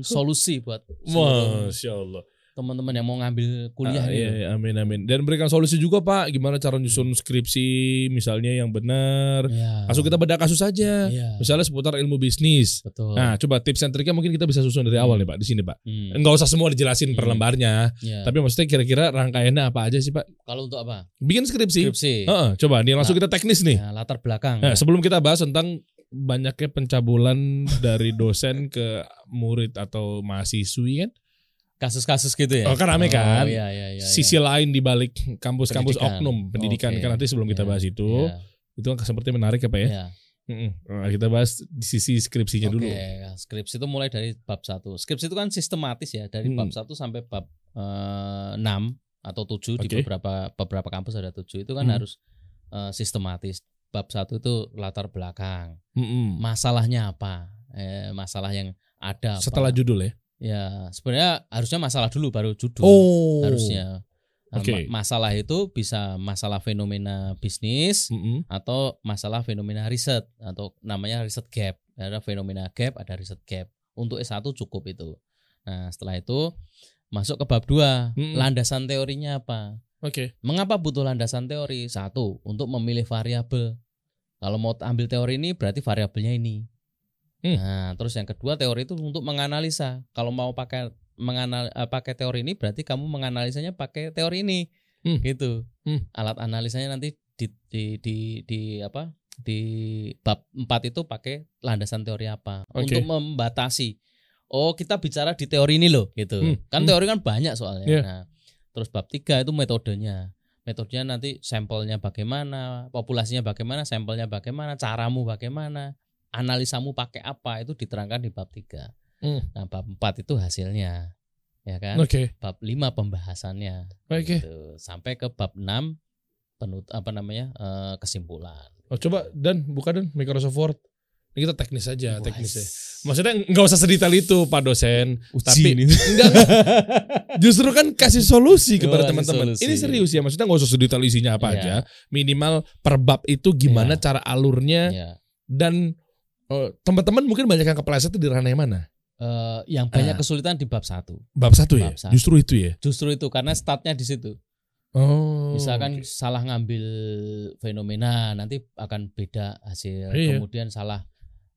solusi buat seluruh Masya Allah. teman-teman yang mau ngambil kuliah Ah, gitu. ini. iya, iya, amin amin. Dan berikan solusi juga Pak, gimana cara nyusun Iya. skripsi misalnya yang benar. Ya. Langsung kita bedah kasus saja. Iya, Misalnya seputar ilmu bisnis. betul. Nah, coba tips and triknya mungkin kita bisa susun dari awal nih Pak di sini Pak. Hmm, Enggak usah semua dijelasin per Hmm. lembarnya, ya. tapi maksudnya kira-kira rangkaiannya apa aja sih Pak? kalau untuk apa? Bikin skripsi. Skripsi. Heeh, coba nih langsung kita teknis nih. Ya, latar belakang. Oh, Nah, sebelum kita bahas tentang banyaknya pencabulan dari dosen ke murid atau mahasiswi kan, Kasus-kasus gitu Oh, ya. kan rame kan? Oh, iya, iya, iya, iya. sisi lain di balik kampus-kampus Pendidikan. oknum pendidikan Oke. kan nanti sebelum kita Iya, bahas itu, Iya, itu kan seperti menarik ya Pak ya. iya. Mm-mm. Nah, kita bahas di sisi skripsinya Oke, dulu. ya, skripsi itu mulai dari bab 1. Skripsi itu kan sistematis ya, dari Hmm. bab 1 sampai bab eh, 6 atau 7 di Oke. beberapa beberapa kampus ada 7. Itu kan Hmm. harus eh, sistematis. Bab 1 itu latar belakang. Mm-mm. Masalahnya apa? Eh, masalah yang ada apa? Setelah judul ya. ya sebenarnya harusnya masalah dulu baru judul Oh. harusnya. Nah, Oke. ma- Masalah itu bisa masalah fenomena bisnis, Mm-mm. atau masalah fenomena riset atau namanya riset gap. Ada fenomena gap, ada riset gap. Untuk S1 cukup itu. Nah, setelah itu masuk ke bab 2. Mm-mm. Landasan teorinya apa? Oke. Mengapa butuh landasan teori? Satu, untuk memilih variabel. Kalau mau ambil teori ini berarti variabelnya ini. Hmm. Nah, terus yang kedua teori itu untuk menganalisa. Kalau mau pakai menganal eh, pakai teori ini berarti kamu menganalisanya pakai teori ini. Hmm. Gitu. Hmm. Alat analisanya nanti di di di, di apa? Di bab 4 itu pakai landasan teori apa? Oke. Untuk membatasi. Oh, kita bicara di teori ini loh, gitu. Hmm. Kan Hmm. teori kan banyak soalnya. Iya. Nah, terus bab 3 itu metodenya metodenya nanti sampelnya bagaimana, populasinya bagaimana, sampelnya bagaimana, caramu bagaimana, analisamu pakai apa itu diterangkan di bab 3. Hmm. Nah, bab 4 itu hasilnya. Ya kan? Oke. Bab 5 pembahasannya. Oke. Gitu. Sampai ke bab 6 penut apa namanya? eh, kesimpulan. Oh, coba dan buka dan Microsoft Word. Ini kita Ya, teknis aja, Wah, teknisnya. Maksudnya nggak usah sedetail itu Pak dosen, uji tapi ini. Enggak, enggak. Justru kan kasih solusi kepada Oh, kasih teman-teman. solusi. Ini serius ya, maksudnya nggak usah sedetail isinya apa Iya. aja. Minimal per bab itu gimana Iya. cara alurnya Ya. dan eh, teman-teman mungkin banyak yang kepleset itu di ranah yang mana? Eh, yang banyak Ah. kesulitan di bab 1. Bab satu ya. Bab satu. Justru itu ya. Justru itu karena startnya di situ. Oh. Misalkan eh, salah ngambil fenomena, nanti akan beda hasil. Iya. Kemudian salah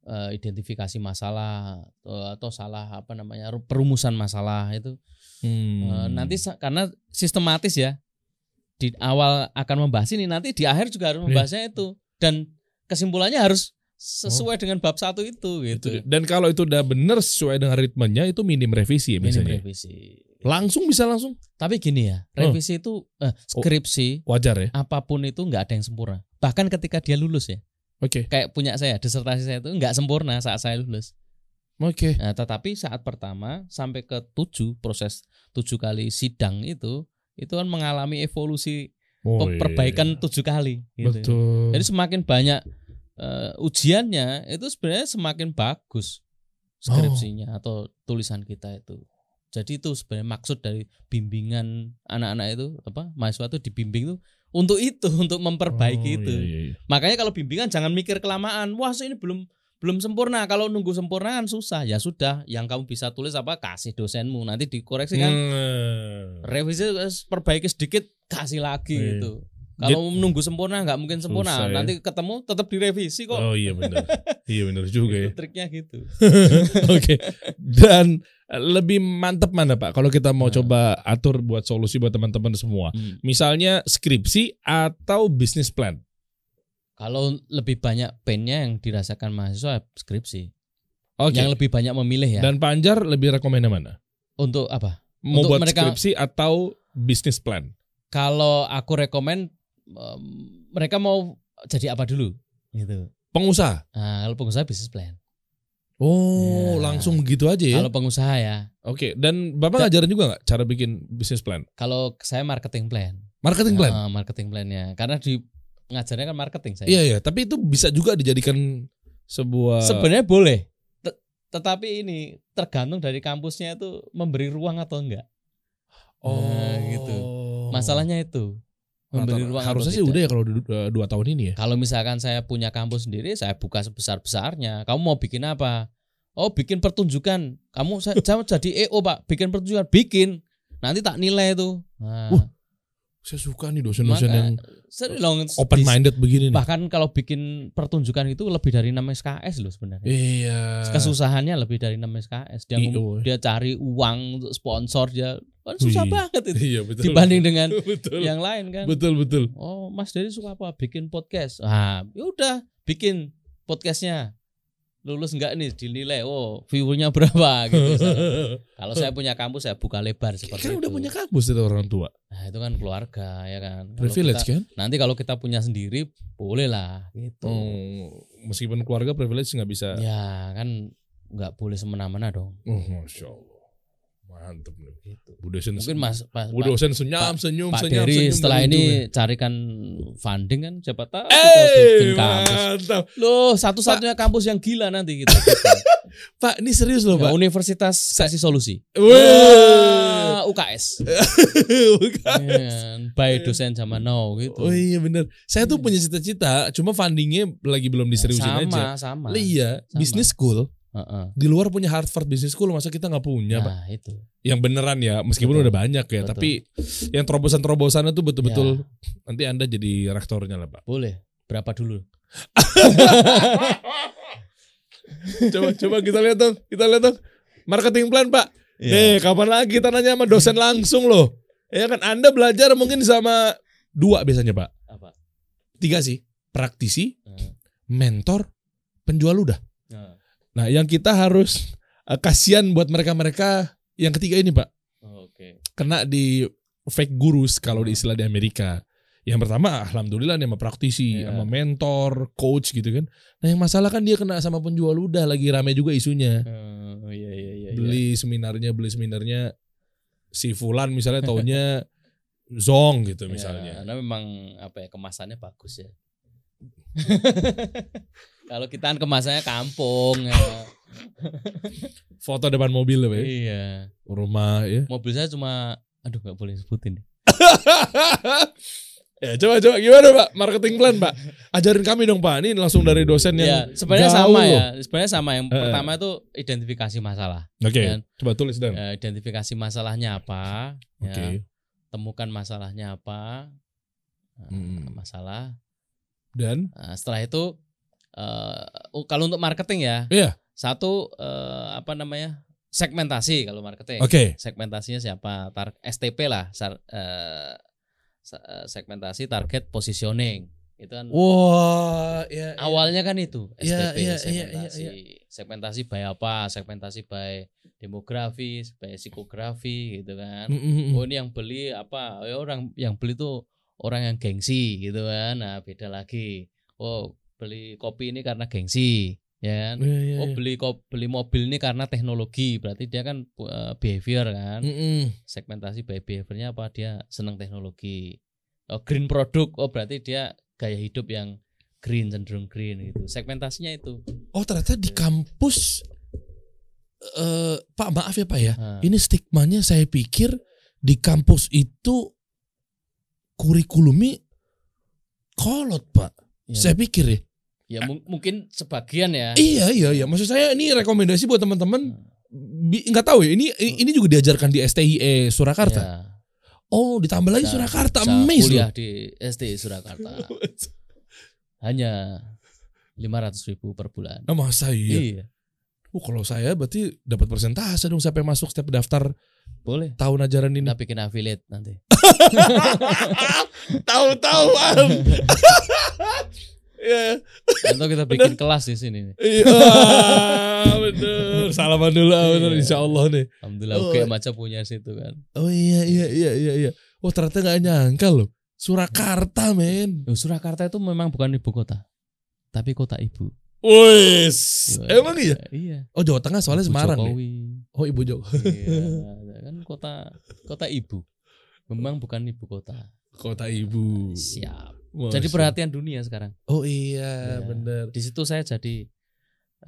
eh, identifikasi masalah eh, atau salah apa namanya ru- perumusan masalah itu Hmm. Eh, nanti sa- karena sistematis ya Iya. di awal akan membahas ini, nanti di akhir juga harus membahasnya itu dan kesimpulannya harus sesuai Oh. dengan bab satu itu gitu. Itu- Dan kalau itu udah bener sesuai dengan ritmenya itu minim revisi ya Oh. Minim biasanya. revisi. Langsung bisa langsung Tapi gini ya, revisi itu eh, skripsi wajar ya. apapun itu nggak ada yang sempurna. Bahkan ketika dia lulus ya, Oke. kayak punya saya, disertasi saya itu nggak sempurna saat saya lulus. Oke. Nah, tetapi saat pertama sampai ke tujuh proses tujuh kali sidang itu, itu kan mengalami evolusi Oh, pe- iya. perbaikan tujuh kali. Gitu. Betul. Jadi semakin banyak eh, ujiannya itu sebenarnya semakin bagus Oh. skripsinya atau tulisan kita itu. Jadi itu sebenarnya maksud dari bimbingan anak-anak itu apa mahasiswa itu dibimbing itu untuk itu untuk memperbaiki Oh, itu. iya, iya, iya. Makanya kalau bimbingan jangan mikir kelamaan. Wah, ini belum belum sempurna. Kalau nunggu sempurna kan susah. Ya sudah, yang kamu bisa tulis apa kasih dosenmu nanti dikoreksi kan. Hmm. Revisi terus perbaiki sedikit, kasih lagi Iya. gitu. Kalau menunggu sempurna nggak mungkin sempurna. Susah, ya. Nanti ketemu tetap direvisi kok. Oh iya benar. iya benar juga ya. Itu Triknya gitu. Oke. Dan eh, lebih mantep mana Pak kalau kita mau Nah. coba atur buat solusi buat teman-teman semua. Hmm. Misalnya skripsi atau bisnis plan. Kalau lebih banyak pennya yang dirasakan mahasiswa skripsi. Oke. Yang lebih banyak memilih ya. Dan Panjar lebih rekomend yang mana? untuk apa? Mau Untuk buat mereka- skripsi atau bisnis plan? Kalau aku rekomen em, mereka mau jadi apa dulu gitu. Pengusaha. Nah, kalau pengusaha bisnis plan. Oh, Ya. langsung begitu aja ya. Kalau pengusaha ya, Oke, dan Bapak ngajarin juga nggak cara bikin bisnis plan? kalau saya marketing plan. Marketing plan? Ah, marketing plannya. Karena di ngajarnya kan marketing saya. Eh, Iya, iya. Tapi itu bisa juga dijadikan sebuah Nah, Sebenarnya boleh. Te- Tetapi ini tergantung dari kampusnya itu memberi ruang atau enggak. Nah, gitu. Masalahnya itu. Rata- Memberi ruang Oh. Nah, Harusnya atau sih tidak. udah ya kalau du- eh, dua tahun ini ya. Kalau misalkan saya punya kampus sendiri, saya buka sebesar-besarnya. Kamu mau bikin apa? Oh, bikin pertunjukan. Kamu saya, saya jadi EO, Pak. Bikin pertunjukan, bikin. Nanti tak nilai itu. Nah, Wah, Saya suka nih dosen-dosen Maka- yang serius loh, open di- minded begini nih. Bahkan kalau bikin pertunjukan itu lebih dari 6 SKS loh sebenarnya. Iya. Kesusahannya lebih dari 6 SKS. Dia Iya, ngum- woy. dia cari uang untuk sponsor dia kan susah Wih. banget itu Iya betul. dibanding dengan betul. yang lain kan. Betul betul. Oh, Mas Dery suka apa? Bikin podcast. Ah, yaudah, bikin podcastnya. Lulus enggak nih dinilai? Oh, viewernya berapa gitu. Kalau saya punya kampus saya buka lebar seperti kan itu. udah punya kampus dari orang tua. Nah, itu kan keluarga ya kan. Kalau Privilege kita- kan? nanti kalau kita punya sendiri boleh lah gitu. Oh, meskipun keluarga privilege nggak bisa. Ya kan nggak boleh semena-mena dong. Oh, Masya Allah. Mantep nih. gitu. Bu dosen Mungkin Mas Pak, Bu dosen senyum senyum Pak senyum Dery senyum setelah dari ujung ya. ini carikan funding kan siapa tahu kita bikin Eh, kampus. mantap. Loh, satu-satunya kampus yang gila nanti gitu. Pak, ini serius loh, Ya, Pak. universitas kasih solusi. Wah. Ah, UKS. Bukan. Iya, By dosen zaman now gitu. Oh iya bener. Saya tuh punya cita-cita, cuma fundingnya lagi belum diseriusin Ya, sama, aja. sama. Lah iya, Sama. business school Heeh. di luar punya Harvard Business School, masa kita nggak punya, Pak? Nah, itu. Yang beneran ya, meskipun Betul. udah banyak ya, Betul. tapi yang terobosan-terobosannya tuh betul-betul Ya, nanti Anda jadi rektornya lah, Pak. boleh. Berapa dulu? coba coba kita lihat dong, kita lihat dong. Marketing plan, Pak. Iya. Nih, kapan lagi kita nanya sama dosen langsung loh. Ya kan Anda belajar mungkin sama dua biasanya, Pak. Apa? Eh, Tiga sih, praktisi, Heeh. mentor, penjual udah. Heeh. Nah, yang kita harus eh, kasihan buat mereka-mereka yang ketiga ini, Pak, Oke. kena di fake gurus kalau di istilah di Amerika. Yang pertama, alhamdulillah nih sama praktisi, Iya. sama mentor, coach gitu kan. Nah, yang masalah kan dia kena sama penjual ludah lagi rame juga isunya. Oh, iya iya iya. iya. Beli seminarnya, beli seminarnya si fulan misalnya taunya Zong gitu Ya, misalnya. karena memang apa ya kemasannya bagus ya. Kalau kita kan kemasannya kampung ya. Foto depan mobil loh, Pak. iya. rumah ya. Mobil saya cuma aduh nggak boleh sebutin. ya coba coba gimana pak marketing plan pak ajarin kami dong pak ini langsung dari dosen Ya, yang sebenarnya jauh sama loh. ya. Sebenarnya sama yang Eh, eh. pertama itu identifikasi masalah. oke Ya, Dan- coba tulis dan Ya, identifikasi masalahnya apa? oke Ya, temukan masalahnya apa? eh, Mm. Masalah. dan Nah, setelah itu eh, oh, kalau untuk marketing ya. Iya. Satu eh, apa namanya? segmentasi kalau marketing. oke segmentasinya siapa Tar- STP lah sar- eh, sa- eh, segmentasi target positioning Itu kan Wah, ya, ya. awalnya kan itu STP Oh, Iya, iya, iya, iya, segmentasi. Segmentasi by apa? Segmentasi by demografi, by psikografi gitu kan. Mm, mm, mm. Oh ini yang beli apa? Oh, ya orang yang beli tuh orang yang gengsi gitu kan. Nah beda lagi. Oh beli kopi ini karena gengsi, ya kan? Iya, iya, Oh iya. beli kop beli mobil ini karena teknologi. Berarti dia kan eh, behavior kan. Mm, mm. Segmentasi by behaviornya apa? Dia senang teknologi. Oh green produk. Oh berarti dia gaya hidup yang green cenderung green gitu. Segmentasinya itu. Oh ternyata di kampus eh Pak maaf ya Pak ya. Nah, Ini stigmanya saya pikir di kampus itu kurikulumnya kolot Pak. ya, Saya pikir ya. ya, mung- mungkin sebagian ya. Iya iya iya. Maksud saya ini rekomendasi buat teman-teman Iya. bi- nggak tahu ya. Ini ini juga diajarkan di STIE E Surakarta. Ya. Oh ditambah lagi Bisa- Surakarta bisa mes loh. kuliah di SD Surakarta hanya 500.000 ribu per bulan Nah, masa iya. iya Oh, kalau saya berarti dapat persentase dong sampai masuk setiap daftar boleh tahun ajaran ini. kita bikin affiliate nanti Tahu-tahuan. ya. atau kita bikin kelas di sini nih. Iya, ah, bener. Salaman dulu, ah, bener. Iya. Insya Allah nih. alhamdulillah Oh. oke macam punya situ kan Oh iya, iya, iya, iya, iya. Oh ternyata nggak nyangka loh. Surakarta, men. Loh, Surakarta itu memang bukan ibu kota tapi kota ibu Wes, emang iya. iya Oh Jawa Tengah soalnya Ibu Semarang nih. Jokowi Oh Ibu Jokowi. iya kan kota kota ibu memang bukan ibu kota Kota Ibu. siap Wah, jadi siap. perhatian dunia sekarang Oh iya, Iya. bener. di situ saya jadi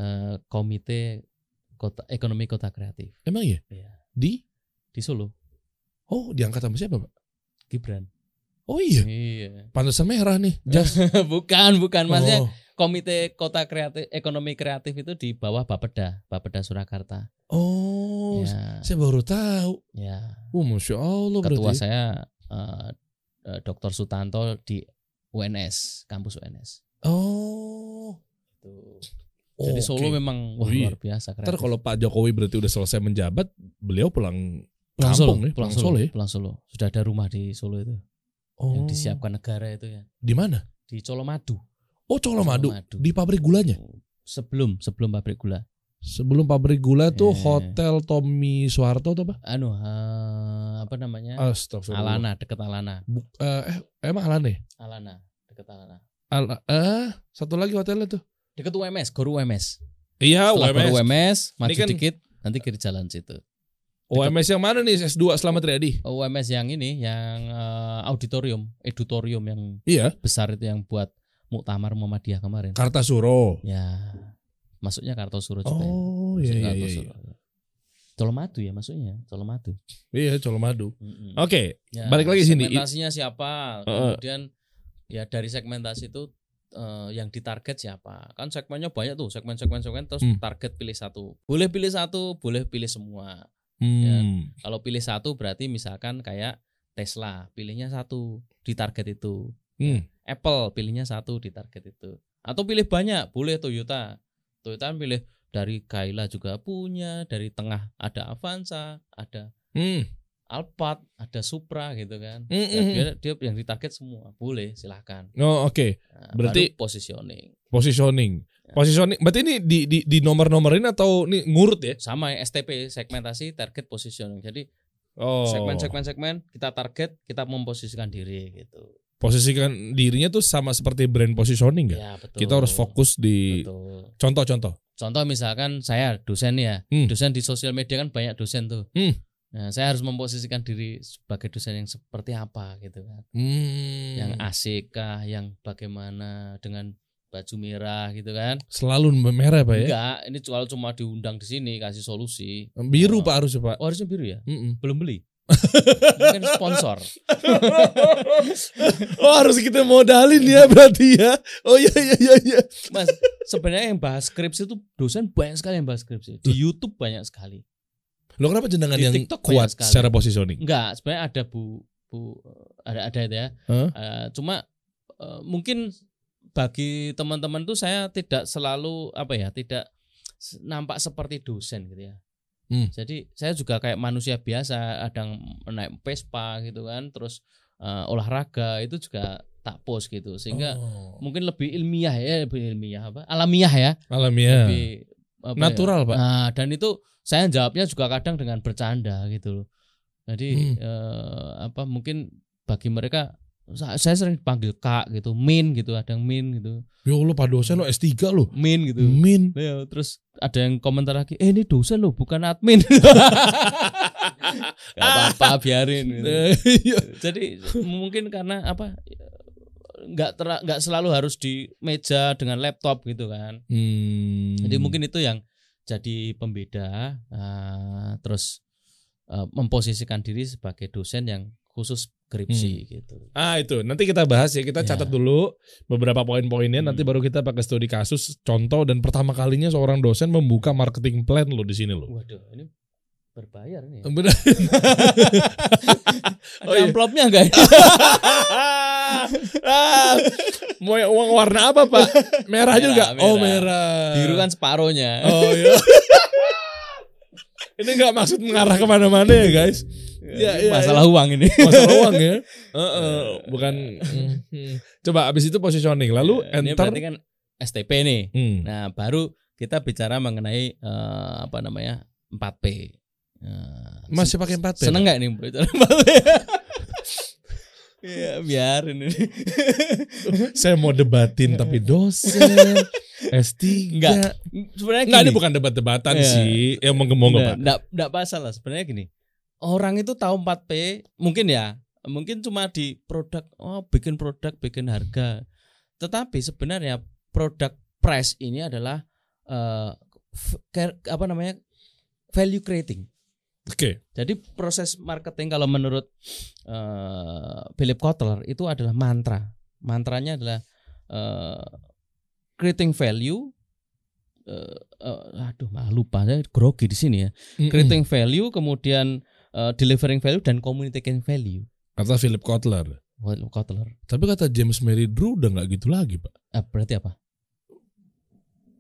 eh, komite kota ekonomi kota kreatif Emang iya? Iya. Di? di Solo Oh diangkat sama siapa pak? Gibran Oh iya. iya Pantesan merah nih. Jas. bukan bukan maksudnya Oh. komite kota kreatif ekonomi kreatif itu di bawah Bapeda Bapeda Surakarta Oh, ya, saya baru tahu. ya. Oh masya Allah berarti. ketua ya. saya eh, eh, Dr Sutanto di UNS kampus UNS Oh. Tuh. jadi Oke. Solo memang wah, Oh, iya. luar biasa kreatif Ntar kalau Pak Jokowi berarti udah selesai menjabat, beliau pulang pulang Solo, kampung ya, pulang pulang Solo, Solo ya. pulang Solo. Sudah ada rumah di Solo itu Oh. yang disiapkan negara itu ya. Di mana? Di Colomadu. Oh Colomadu. Colomadu. Di pabrik gulanya. sebelum sebelum pabrik gula Sebelum pabrik gula tuh Eh. hotel Tommy Soeharto tuh apa? anu eh, apa namanya Astagfirullah. Alana deket Alana Bu- eh, eh, emang Alana ya? Alana deket Alana Al- eh, satu lagi hotelnya tuh. deket UMS Gor UMS Iya, Setelah UMS. Gor UMS maju kan- dikit nanti kiri jalan situ Oh, UMS yang mana nih S2 Selamat Riyadi? UMS yang ini yang eh, auditorium edutorium yang Iya, besar itu yang buat muktamar Muhammadiyah kemarin Kartasuro. ya masuknya Kartosuro juga ya. Oh, Masuk iya iya iya. Kartosuro. Colomadu ya maksudnya Colomadu Iya, Colomadu. Mm-mm. Oke, Ya, Oh, Balik lagi sini. Segmentasinya siapa? Heeh. Kemudian ya dari segmentasi itu eh, yang ditarget siapa? Kan segmennya banyak tuh, segmen-segmen segmen terus Hmm. target pilih satu. Boleh pilih satu, boleh pilih semua. Hmm. Kalau pilih satu berarti misalkan kayak Tesla, pilihnya satu di target itu. Hmm. Apple pilihnya satu di target itu. Atau pilih banyak, boleh Toyota. Toyota pilih dari Kaila juga punya, dari tengah ada Avanza, ada Hmm. Alphard, ada Supra gitu kan. Hmm, Ya, hmm, dia, dia yang ditarget semua boleh silahkan Oh, oke. Nah, Berarti- baru positioning positioning Ya. positioning berarti ini di di di nomor nomorin atau ini ngurut ya sama ya, STP segmentasi target positioning jadi oh segmen segmen segmen kita target kita memposisikan diri gitu posisikan dirinya tuh sama seperti brand positioning nggak ya betul kita harus fokus di betul contoh-contoh contoh misalkan saya dosen ya Hmm. dosen di sosial media kan banyak dosen tuh Hmm. nah saya harus memposisikan diri sebagai dosen yang seperti apa gitu kan Hmm. yang asik kah yang bagaimana dengan baju merah gitu kan selalu merah pak ya enggak ini kalau cuma diundang di sini kasih solusi biru Oh. pak harus pak oh harusnya biru ya Mm-mm. belum beli mungkin sponsor oh harus kita modalin ya berarti ya oh iya iya iya iya mas sebenarnya yang bahas skripsi itu dosen banyak sekali yang bahas skripsi di YouTube banyak sekali lo kenapa jenengan Di yang TikTok kuat banyak sekali. secara positioning enggak sebenarnya ada bu bu ada ada itu ya Hah? Eh, cuma eh, mungkin bagi teman-teman tuh saya tidak selalu apa ya tidak s- nampak seperti dosen gitu ya Hmm. jadi saya juga kayak manusia biasa kadang naik pespa gitu kan terus eh, olahraga itu juga tak post gitu sehingga Oh. mungkin lebih ilmiah ya lebih ilmiah apa alamiah ya alamiah. lebih apa ya. Iya. Natural, Pak. Nah, dan itu saya jawabnya juga kadang dengan bercanda gitu loh. Jadi Hmm. eh, apa mungkin bagi mereka sa- saya sering dipanggil Kak gitu, Min gitu, ada yang Min gitu, Ya Allah, Pak dosen lo S3 lo. Min gitu. Min. Ya, terus ada yang komentar lagi, "Eh, ini dosen loh, bukan admin." Gak apa-apa, biarin gitu. Eh, iya. Jadi mungkin karena apa nggak ter- nggak selalu harus di meja dengan laptop gitu kan. Hmm. Jadi mungkin itu yang jadi pembeda eh, terus eh, memposisikan diri sebagai dosen yang khusus skripsi gitu. Ah itu nanti kita bahas ya kita Ya. catat dulu beberapa poin-poinnya Hmm. nanti baru kita pakai studi kasus contoh dan pertama kalinya seorang dosen membuka marketing plan lo di sini lo. Waduh, ini berbayar nih. Bener. Ada oh iya. amplopnya ya? enggak? Ah, Mau yang uang warna apa pak? Merah, Merah, juga. Oh merah. merah. Biru kan separohnya. Oh iya. Ini nggak maksud mengarah kemana-mana ya guys. Ya, Ini ya, masalah uang ini. Masalah uang ya. Heeh, bukan. Hmm. Coba abis itu positioning lalu Ya, ini enter. berarti kan STP nih. Hmm. Nah, baru kita bicara mengenai eh, apa namanya? 4P. Eh, Masih pakai 4P? Seneng nggak nih bicara 4P? Iya, biarin ini. Saya mau debatin tapi dosen. Eh, S3. Iya. Enggak. Sebenarnya Enggak, gini. ini bukan debat-debatan Iya. sih. Ya mau ngomong Nggak- Pak. nggak- nggak masalah sebenarnya gini. Orang itu tahu 4P mungkin ya, mungkin cuma di produk oh bikin produk, bikin harga. Tetapi sebenarnya produk price ini adalah eh, f- care- apa namanya? value creating. Oke. Jadi proses marketing kalau menurut eh, Philip Kotler itu adalah mantra. Mantranya adalah eh, creating value. eh, eh, aduh malah lupa saya grogi di sini ya. Creating value, kemudian eh, delivering value dan communicating value. Kata Philip Kotler. Philip Kotler. Tapi kata James Mary Drew udah nggak gitu lagi Pak. Ah, berarti apa?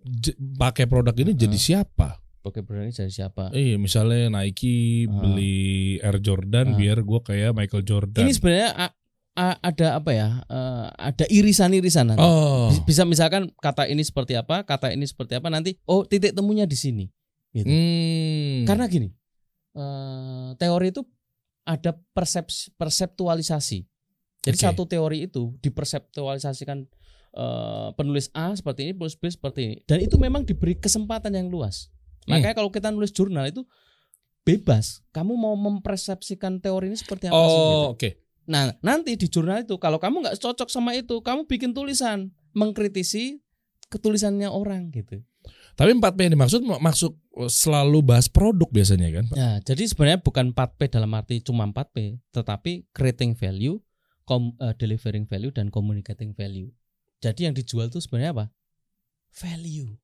J- pakai produk ini jadi siapa? Oke berarti dari siapa? Iya, misalnya Nike Ah. beli Air Jordan Ah. biar gue kayak Michael Jordan. Ini sebenarnya a- a- ada apa ya? Eh, ada irisan-irisan. nanti. oh, Bis- Bisa misalkan kata ini seperti apa, kata ini seperti apa nanti oh titik temunya di sini. Hmm. Karena gini, eh, teori itu ada perseps perseptualisasi. Jadi Oke. satu teori itu diperseptualisasikan eh, penulis A seperti ini, penulis B seperti ini, dan itu memang diberi kesempatan yang luas. Hmm. Makanya kalau kita nulis jurnal itu bebas, kamu mau mempersepsikan teori ini seperti apa sih? gitu. oh oke. Nah nanti di jurnal itu kalau kamu nggak cocok sama itu, kamu bikin tulisan mengkritisi ketulisannya orang gitu. Tapi 4P yang dimaksud mak- maksud selalu bahas produk biasanya kan, Pak? Nah, jadi sebenarnya bukan 4P dalam arti cuma 4P, tetapi creating value, com- eh, delivering value dan communicating value. Jadi yang dijual itu sebenarnya apa? Value.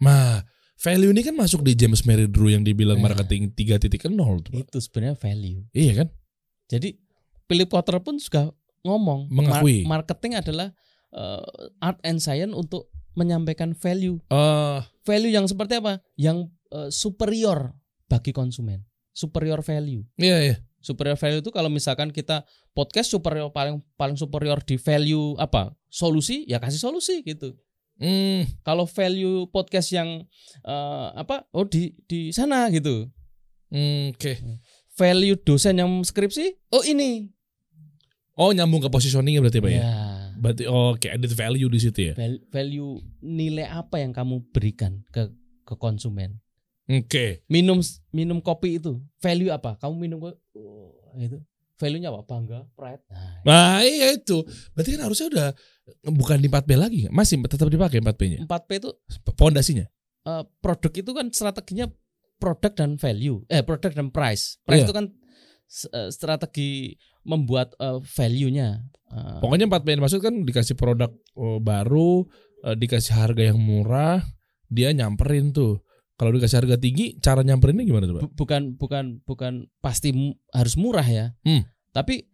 Nah, value ini kan masuk di James Mary Drew yang dibilang Nah. marketing 3.0 tuh, Pak. Itu sebenarnya value. Iya kan? Jadi Philip Kotler pun juga ngomong mar- Mengakui. marketing adalah eh, art and science untuk menyampaikan value. Eh, Value yang seperti apa? Yang eh, superior bagi konsumen. Superior value. iya iya. Superior value itu kalau misalkan kita podcast superior paling paling superior di value apa? Solusi ya kasih solusi gitu. Hmm, Kalau value podcast yang eh, apa? Oh di di sana gitu. hmm, oke. Value dosen yang skripsi? Oh ini. Oh, nyambung ke positioning berarti, Pak ya. Ya. Berarti oh, oke, added value di situ ya. Val- Value nilai apa yang kamu berikan ke ke konsumen? Oke. Minum minum kopi itu value apa? Kamu minum kopi oh, itu value-nya apa? Bangga, pride. Nah, Nah, iya itu. Berarti kan harusnya udah bukan di 4P lagi, nggak? masih tetap dipakai 4P-nya. 4P itu Pondasinya. eh, produk itu kan strateginya produk dan value eh produk dan price price Iya. itu kan s- eh, strategi membuat eh, value-nya Eh, Pokoknya 4P yang dimaksud kan dikasih produk eh, baru, eh, dikasih harga yang murah, dia nyamperin tuh. Kalau dikasih harga tinggi, cara nyamperinnya gimana tuh, Pak? bu- bukan bukan bukan pasti mu- harus murah ya Hmm. tapi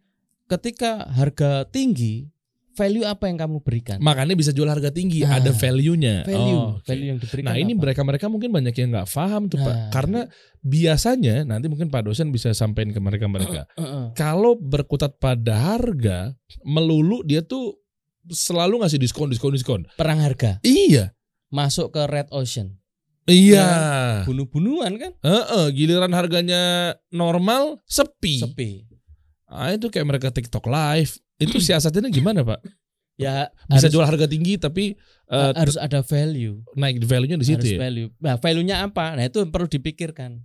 ketika harga tinggi value apa yang kamu berikan? Makanya bisa jual harga tinggi, Nah, ada value-nya. Value, Oh, oke. value yang diberikan. Nah ini apa? mereka-mereka mungkin banyak yang nggak paham tuh Nah. Pak. Karena biasanya nanti mungkin Pak dosen bisa sampaikan ke mereka-mereka. Heeh. Kalau berkutat pada harga, melulu dia tuh selalu ngasih diskon, diskon, diskon. perang harga Iya. masuk ke red ocean. Iya. Bunuh-bunuhan kan? Heeh, giliran harganya normal, sepi. Sepi. Ah, itu kayak mereka TikTok live. Itu siasatnya gimana Pak? Ya Bisa harus, jual harga tinggi tapi eh, harus ada value. naik value-nya di situ harus ya? value. Nah, value-nya apa? Nah, itu perlu dipikirkan.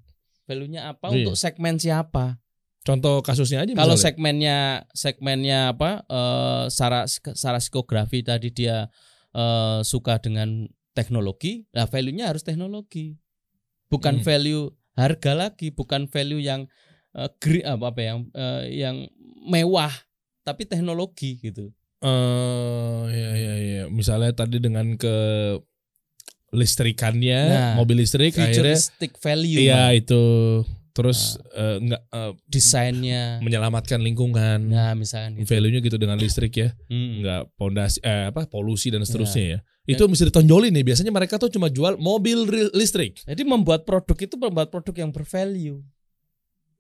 Value-nya apa Iya. untuk segmen siapa? Contoh kasusnya aja Kalau misalnya. segmennya segmennya apa? eh secara secara psikografi tadi dia eh, suka dengan teknologi, nah value-nya harus teknologi. Bukan Hmm. value harga lagi, bukan value yang eh, gri- apa apa yang eh, yang mewah, tapi teknologi gitu. eh ya ya ya. Misalnya tadi dengan ke listrikannya, Nah, mobil listrik akhirnya Futuristic value, iya itu terus Nah. eh, nggak eh, desainnya. menyelamatkan lingkungan. Nah, misalkan gitu. Value-nya gitu dengan listrik ya, Mm. nggak pondasi eh, apa polusi dan Iya. seterusnya ya. Itu mesti ditonjolin nih. Biasanya mereka tuh cuma jual mobil ri- listrik. Jadi membuat produk itu membuat produk yang bervalue,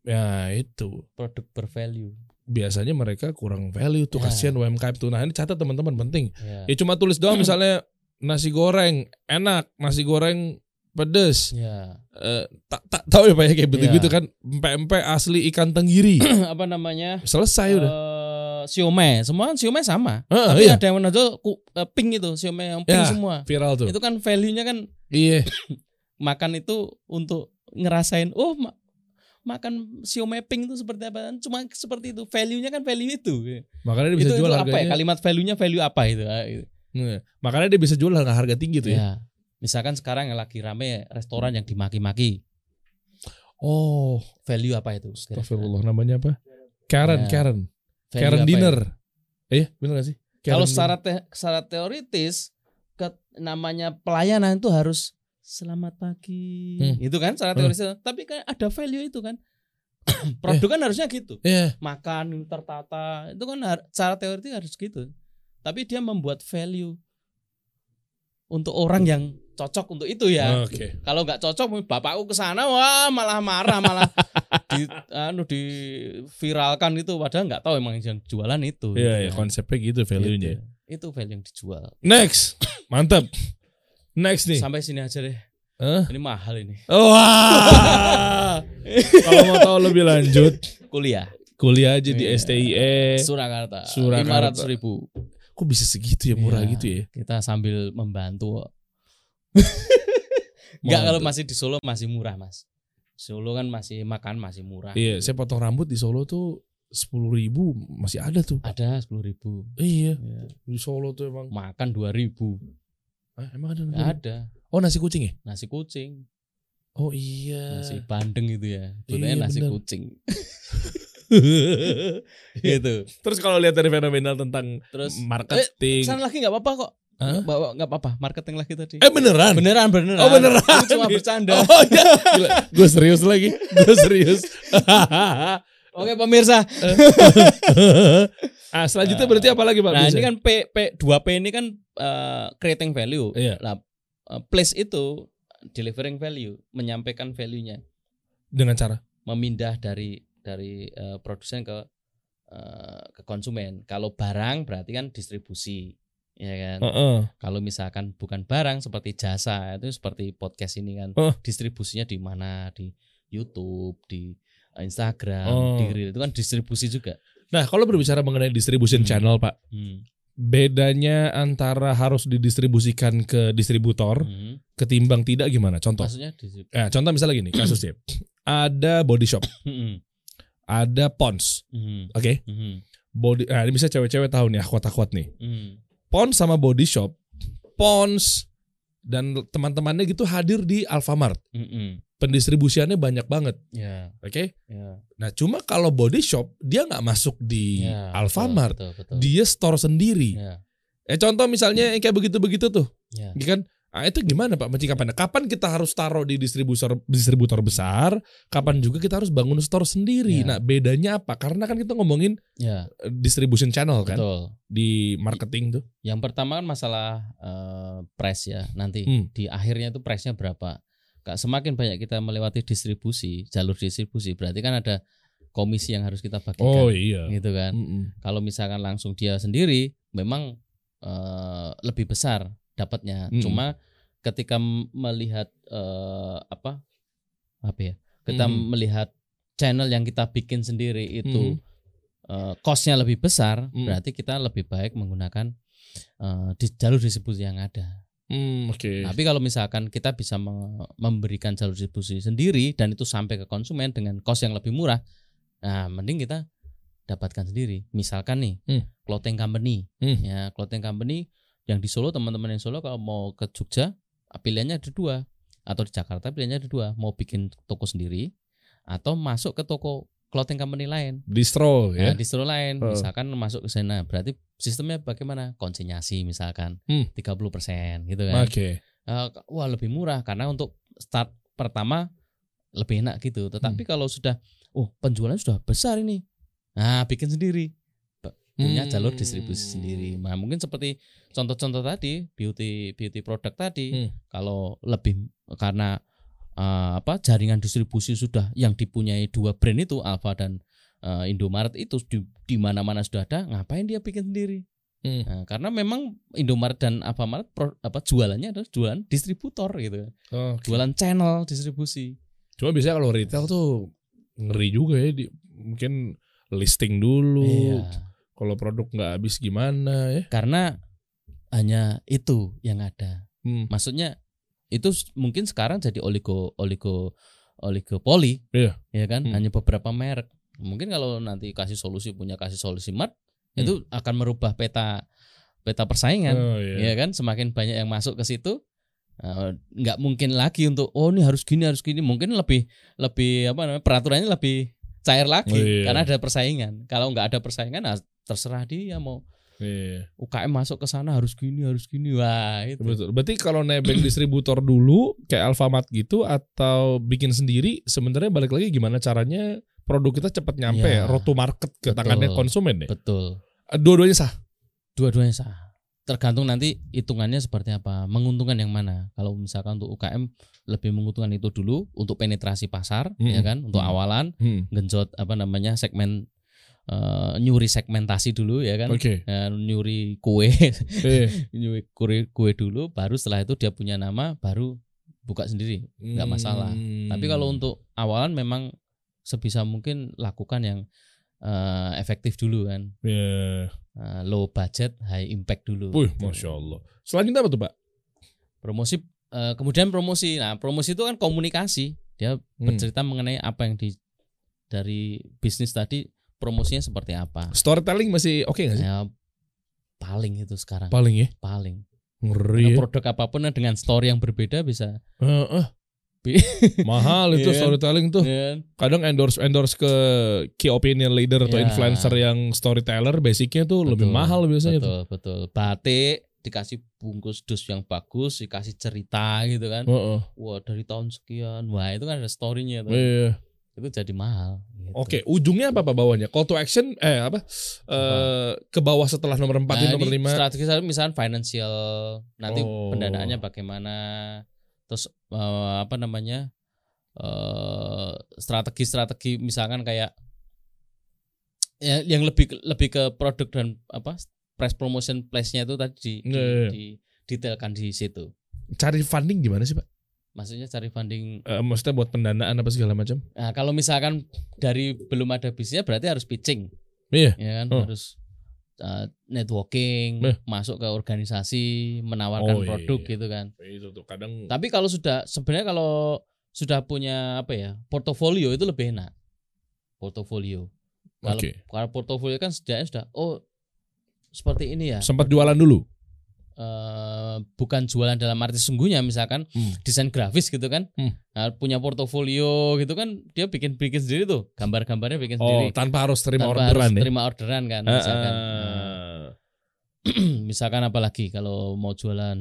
Ya itu. produk bervalue. Biasanya mereka kurang value tuh Ya. kasihan UMKM tuh. Nah, ini catat teman-teman penting. Ya. Ya cuma tulis doang misalnya nasi goreng enak, nasi goreng pedes. Ya. Eh, tak tak tahu ya Pak ya kayak Iya. begitu-gitu kan. Empe-empe asli ikan tenggiri. Apa namanya? Selesai Ya. udah. Eh, siomay, semua kan siomay sama. Heeh, Tapi ya, iya. ada yang menonjol ku- eh, pink itu, siomay yang Ya. pink semua. Viral tuh. Itu kan value-nya kan Iya. makan itu untuk ngerasain oh ma- makan siomay pink itu seperti apa? Kan Cuma seperti itu. Value-nya kan value itu. Makanya dia bisa itu, jual itu apa ya? harganya. Kalimat value-nya value apa itu? Ah, itu. Iya. Makanya dia bisa jual harga, harga tinggi tuh ya. Ya. Misalkan sekarang yang lagi rame restoran yang dimaki-maki. Oh, Value apa itu? Kira-kira. astagfirullah namanya apa? Karen, Ya. Karen. Value Karen apa itu? dinner. Eh, bener gak sih? Karen Kalau dinner. secara te- secara teoritis ke- namanya pelayanan itu harus selamat pagi. Hmm. Itu kan secara Hmm. teoritis. Tapi kan ada value itu kan. Produk kan harusnya gitu. Iya. Makan tertata itu kan har- secara teoritis harus gitu. Tapi dia membuat value untuk orang yang cocok untuk itu ya. Oke. Kalau nggak cocok, bapakku ke sana, wah malah marah, malah di, anu diviralkan itu. Padahal nggak tahu emang yang jualan itu. Iya, gitu iya, kan. konsepnya gitu value-nya. Gitu. Itu value yang dijual. Next. Mantap. Next nih. Sampai sini aja deh. Hah? Ini mahal ini. Wah. Kalau mau tahu lebih lanjut, Kuliah kuliah aja di Iya. STIE. Surakarta. Eh. Surakarta. 500 ribu. E. Kok bisa segitu ya murah Iya. gitu ya? Kita sambil membantu. Enggak Mantap. kalau masih di Solo masih murah mas. Solo kan masih makan masih murah. Iya, saya potong rambut di Solo tuh sepuluh ribu masih ada tuh. Ada 10 ribu. Iya, di Solo tuh emang. Makan 2 ribu. Ah, emang ada. nasi goreng? Ada Oh nasi kucing ya? nasi kucing, Oh iya. nasi bandeng itu ya. Iya, Bentuknya nasi benar. kucing. Iya. gitu. Terus kalau lihat dari fenomenal tentang Terus eh, marketing, Sana lagi nggak apa-apa kok. Mm. Hah? Nggak apa- nggak apa-apa. Marketing lagi tadi. eh beneran? Beneran beneran. Oh, beneran. Itu cuma bercanda. Oh iya. Gila, Gue serius lagi. Gue serius. Oke pemirsa. ah selanjutnya berarti apa lagi pak? Nah ini Biasanya? kan P P 2 P ini kan eh, creating value. Iya. Nah, eh, place itu delivering value, menyampaikan value-nya, dengan cara. memindah dari dari eh, produsen ke eh, ke konsumen. Kalau barang berarti kan distribusi, ya kan. Heeh. Kalau misalkan bukan barang seperti jasa itu seperti podcast ini kan Heeh. distribusinya di mana di YouTube, di Instagram, Oh. di Reel itu kan distribusi juga. Nah kalau berbicara mengenai distribution Hmm. channel pak, Hmm. bedanya antara harus didistribusikan ke distributor Hmm. ketimbang tidak gimana? Contoh. Maksudnya di Eh, contoh misalnya gini kasusnya. ada body shop, Hmm. ada Pons. Hmm. Oke. Hmm. Body nah ini bisa cewek-cewek tahu nih akhwat-akhwat nih. Hmm. Pons sama body shop, Pons dan teman-temannya gitu hadir di Alfamart. Mm-mm. Pendistribusiannya banyak banget, Hmm. Ya, oke? ya, Nah, cuma kalau body shop dia nggak masuk di ya, Alfamart, betul, betul, betul. dia store sendiri. ya, Eh contoh misalnya yang kayak begitu-begitu tuh, ya. ya kan? Ah, itu gimana Pak? Mesti kapan? Nah, Kapan kita harus taruh di distributor distributor besar? Kapan juga kita harus bangun store sendiri? Iya. Nah, bedanya apa? Karena kan kita ngomongin Ya, eh, distribution channel kan betul. di marketing tuh. Yang pertama kan masalah eh, price ya. Nanti Hmm. di akhirnya itu price-nya berapa. Kak, semakin banyak kita melewati distribusi, jalur distribusi, berarti kan ada komisi yang harus kita Oh bagikan. iya. Gitu kan. Mm-mm. Kalau misalkan langsung dia sendiri memang eh, lebih besar dapatnya. Mm. Cuma ketika m- melihat eh, apa? Apa ya? Kita Mm. melihat channel yang kita bikin sendiri Mm. itu eh, cost-nya lebih besar, Mm. berarti kita lebih baik menggunakan eh, di jalur distribusi yang ada. Hmm, oke. Tapi kalau misalkan kita bisa me- memberikan jalur distribusi sendiri dan itu sampai ke konsumen dengan cost yang lebih murah, nah mending kita dapatkan sendiri. Misalkan nih Hmm. clothing company, Hmm. ya clothing company yang di Solo teman-teman yang Solo kalau mau ke Jogja pilihannya ada dua atau di Jakarta pilihannya ada dua mau bikin toko sendiri atau masuk ke toko clothing company lain Distro ya. Nah, di seluruh lain, Heeh. misalkan masuk ke sana, berarti sistemnya bagaimana? Konsinyasi misalkan Hmm. 30% gitu Nah, Oke. kan. Eh, wah, lebih murah karena untuk start pertama lebih enak gitu. Hmm. Tetapi kalau sudah oh, penjualan sudah besar ini. Nah, bikin sendiri, punya Hmm. jalur distribusi sendiri. Nah, mungkin seperti contoh-contoh tadi, beauty beauty product tadi, Hmm. kalau lebih karena eh, apa jaringan distribusi sudah yang dipunyai dua brand itu Alfa dan eh, Indomaret itu di, di mana-mana sudah ada ngapain dia bikin sendiri Hmm. Nah, karena memang Indomaret dan Alfamart pro- apa jualannya adalah jualan distributor gitu Oke. jualan channel distribusi Cuma biasanya kalau retail tuh ngeri juga ya di, mungkin listing dulu. Iya. Kalau produk nggak habis gimana ya? karena hanya itu yang ada Hmm. maksudnya itu s- mungkin sekarang jadi oligo oligo oligopoli Iya. ya kan Hmm. hanya beberapa merek mungkin kalau nanti kasih solusi punya kasih solusi mart Hmm. itu akan merubah peta peta persaingan Oh, iya. ya kan semakin banyak yang masuk ke situ eh, nggak mungkin lagi untuk oh ini harus gini harus gini mungkin lebih lebih apa namanya peraturannya lebih cair lagi Oh, iya. karena ada persaingan kalau nggak ada persaingan nah, terserah dia mau Iya. UKM masuk ke sana harus gini harus gini wah itu Betul. Berarti kalau nebeng distributor dulu kayak Alfamart gitu atau bikin sendiri sebenarnya balik lagi gimana caranya produk kita cepat nyampe ya? Iya. road to market ke Betul. tangannya konsumen ya. betul Dua-duanya sah. Dua-duanya sah. Tergantung nanti hitungannya seperti apa, menguntungkan yang mana. Kalau misalkan untuk UKM lebih menguntungkan itu dulu untuk penetrasi pasar, Mm-mm. ya kan? Untuk Mm. awalan genjot apa namanya segmen eh, nyuri segmentasi dulu ya kan? Oke. Eh, nyuri kue, Eh, nyuri kue, kue dulu, baru setelah itu dia punya nama, baru buka sendiri. Nggak masalah. hmm. Tapi kalau untuk awalan memang sebisa mungkin lakukan yang eh, efektif dulu kan, Ya. Eh, low budget, high impact dulu. Wih, Gitu. masya Allah. Selanjutnya apa tuh Pak? promosi eh, kemudian promosi nah promosi itu kan komunikasi dia Hmm. bercerita mengenai apa yang di dari bisnis tadi promosinya seperti apa Storytelling masih oke nggak sih? ya, paling itu sekarang Paling ya. paling Ngeri. Karena ya. produk apapun dengan story yang berbeda bisa Heeh. Bi- Mahal itu Iya. storytelling tuh. Iya. Kadang endorse endorse ke key opinion leader atau Iya. influencer yang storyteller basicnya tuh lebih Betul, mahal biasanya tuh. betul betul batik dikasih bungkus dus yang bagus dikasih cerita gitu kan Heeh. wah dari tahun sekian wah itu kan ada storynya tuh. Iya. itu jadi mahal gitu. Oke, ujungnya apa Pak bawahnya? Call to action eh apa? Eh ke bawah setelah nomor 4 Nah, nomor ini 5. Strategi satu misalnya financial nanti Oh. pendanaannya bagaimana, terus eh, apa namanya eh, strategi-strategi misalkan kayak ya, yang lebih lebih ke produk dan apa price promotion place-nya itu tadi di, di- Iya, iya, iya. di- detailkan di situ. Cari funding gimana sih Pak? Maksudnya cari funding. Eh, maksudnya buat pendanaan apa segala macam? Nah, kalau misalkan dari belum ada bisnisnya berarti harus pitching. Iya. ya kan Oh. harus uh, networking Nah. masuk ke organisasi Oh, menawarkan iya, produk iya. gitu kan Itu tuh kadang tapi kalau sudah sebenarnya kalau sudah punya apa ya portofolio itu lebih enak portofolio kalau Oke. kalau portofolio kan sejauh sudah oh seperti ini ya Sempat jualan dulu. eh, bukan jualan dalam arti sungguhnya misalkan Hmm. desain grafis gitu kan Hmm. Nah, punya portofolio gitu kan dia bikin bikin sendiri tuh gambar-gambarnya bikin Oh, sendiri tanpa harus terima Tanpa harus orderan ya. terima orderan kan Ah, misalkan ah. Nah, misalkan apalagi kalau mau jualan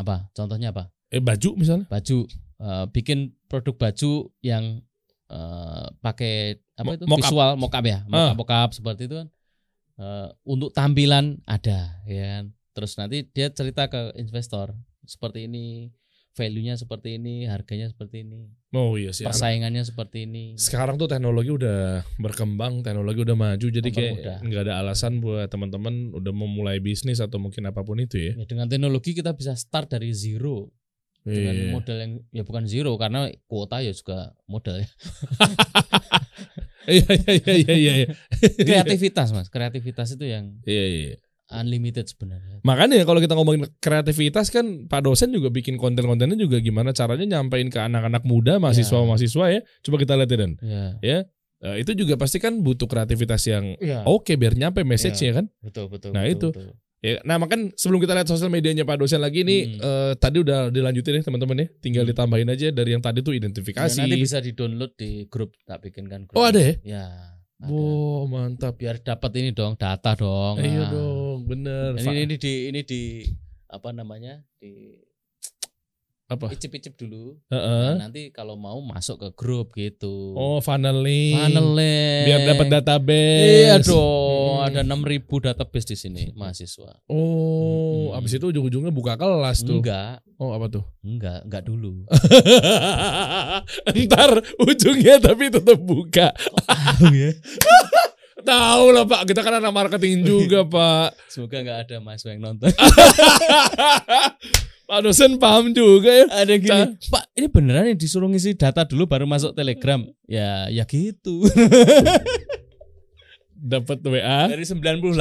apa contohnya apa Eh baju misalnya? baju eh, bikin produk baju yang eh, pakai apa Mo- itu mockup. visual mockup ya Ah. mockup mockup seperti itu kan Eh, untuk tampilan ada ya kan terus nanti dia cerita ke investor seperti ini value-nya seperti ini harganya seperti ini Oh iya sih. persaingannya seperti ini Sekarang tuh teknologi udah berkembang, teknologi udah maju, jadi Mempermudah. kayak nggak ada alasan buat teman-teman udah memulai bisnis atau mungkin apapun itu ya. Ya, dengan teknologi kita bisa start dari zero dengan Iya. modal yang ya bukan zero karena kuota ya juga modal ya Iya iya iya iya iya. iya. kreativitas mas kreativitas itu yang Iya iya. iya. unlimited sebenarnya Makanya kalau kita ngomongin kreativitas kan Pak dosen juga bikin konten-kontennya juga gimana caranya nyampein ke anak-anak muda, mahasiswa-mahasiswa ya. Coba kita lihat ya Dan. ya Eh, itu juga pasti kan butuh kreativitas yang Iya, oke biar nyampe message-nya kan. betul Oh. betul. Nah, betul, itu. betul. Ya, nah makan sebelum kita lihat sosial medianya Pak dosen lagi nih Hmm. eh, tadi udah dilanjutin ya teman-teman ya. Tinggal ditambahin aja dari yang tadi tuh Ya, identifikasi. nanti bisa di-download di grup tak bikinkan grup. Oh ada ya? Ya. ada. Wow mantap. Biar dapat ini dong data dong. Iya Ah. dong bener. Ini, Fa- ini ini di ini di apa namanya? di apa? icip-icip dulu. Heeh. Nah, nanti kalau mau masuk ke grup gitu. Oh funneling. Paneling. Biar dapat database. Iya dong, Hmm. ada 6000 database di sini mahasiswa. Oh, Mm-mm. abis itu ujung-ujungnya buka kelas tuh. Hmm. Enggak, Oh, apa tuh? enggak, enggak dulu. Oh, Ntar ujungnya tapi tetap buka. iya? Tahu lah Pak, kita kan anak marketing juga Pak. Semoga enggak ada mahasiswa yang nonton. Pak dosen paham juga ya. ada yang gini Ca- pak ini beneran yang disuruh ngisi data dulu baru masuk telegram ya ya gitu Dapat WA, dari 98.000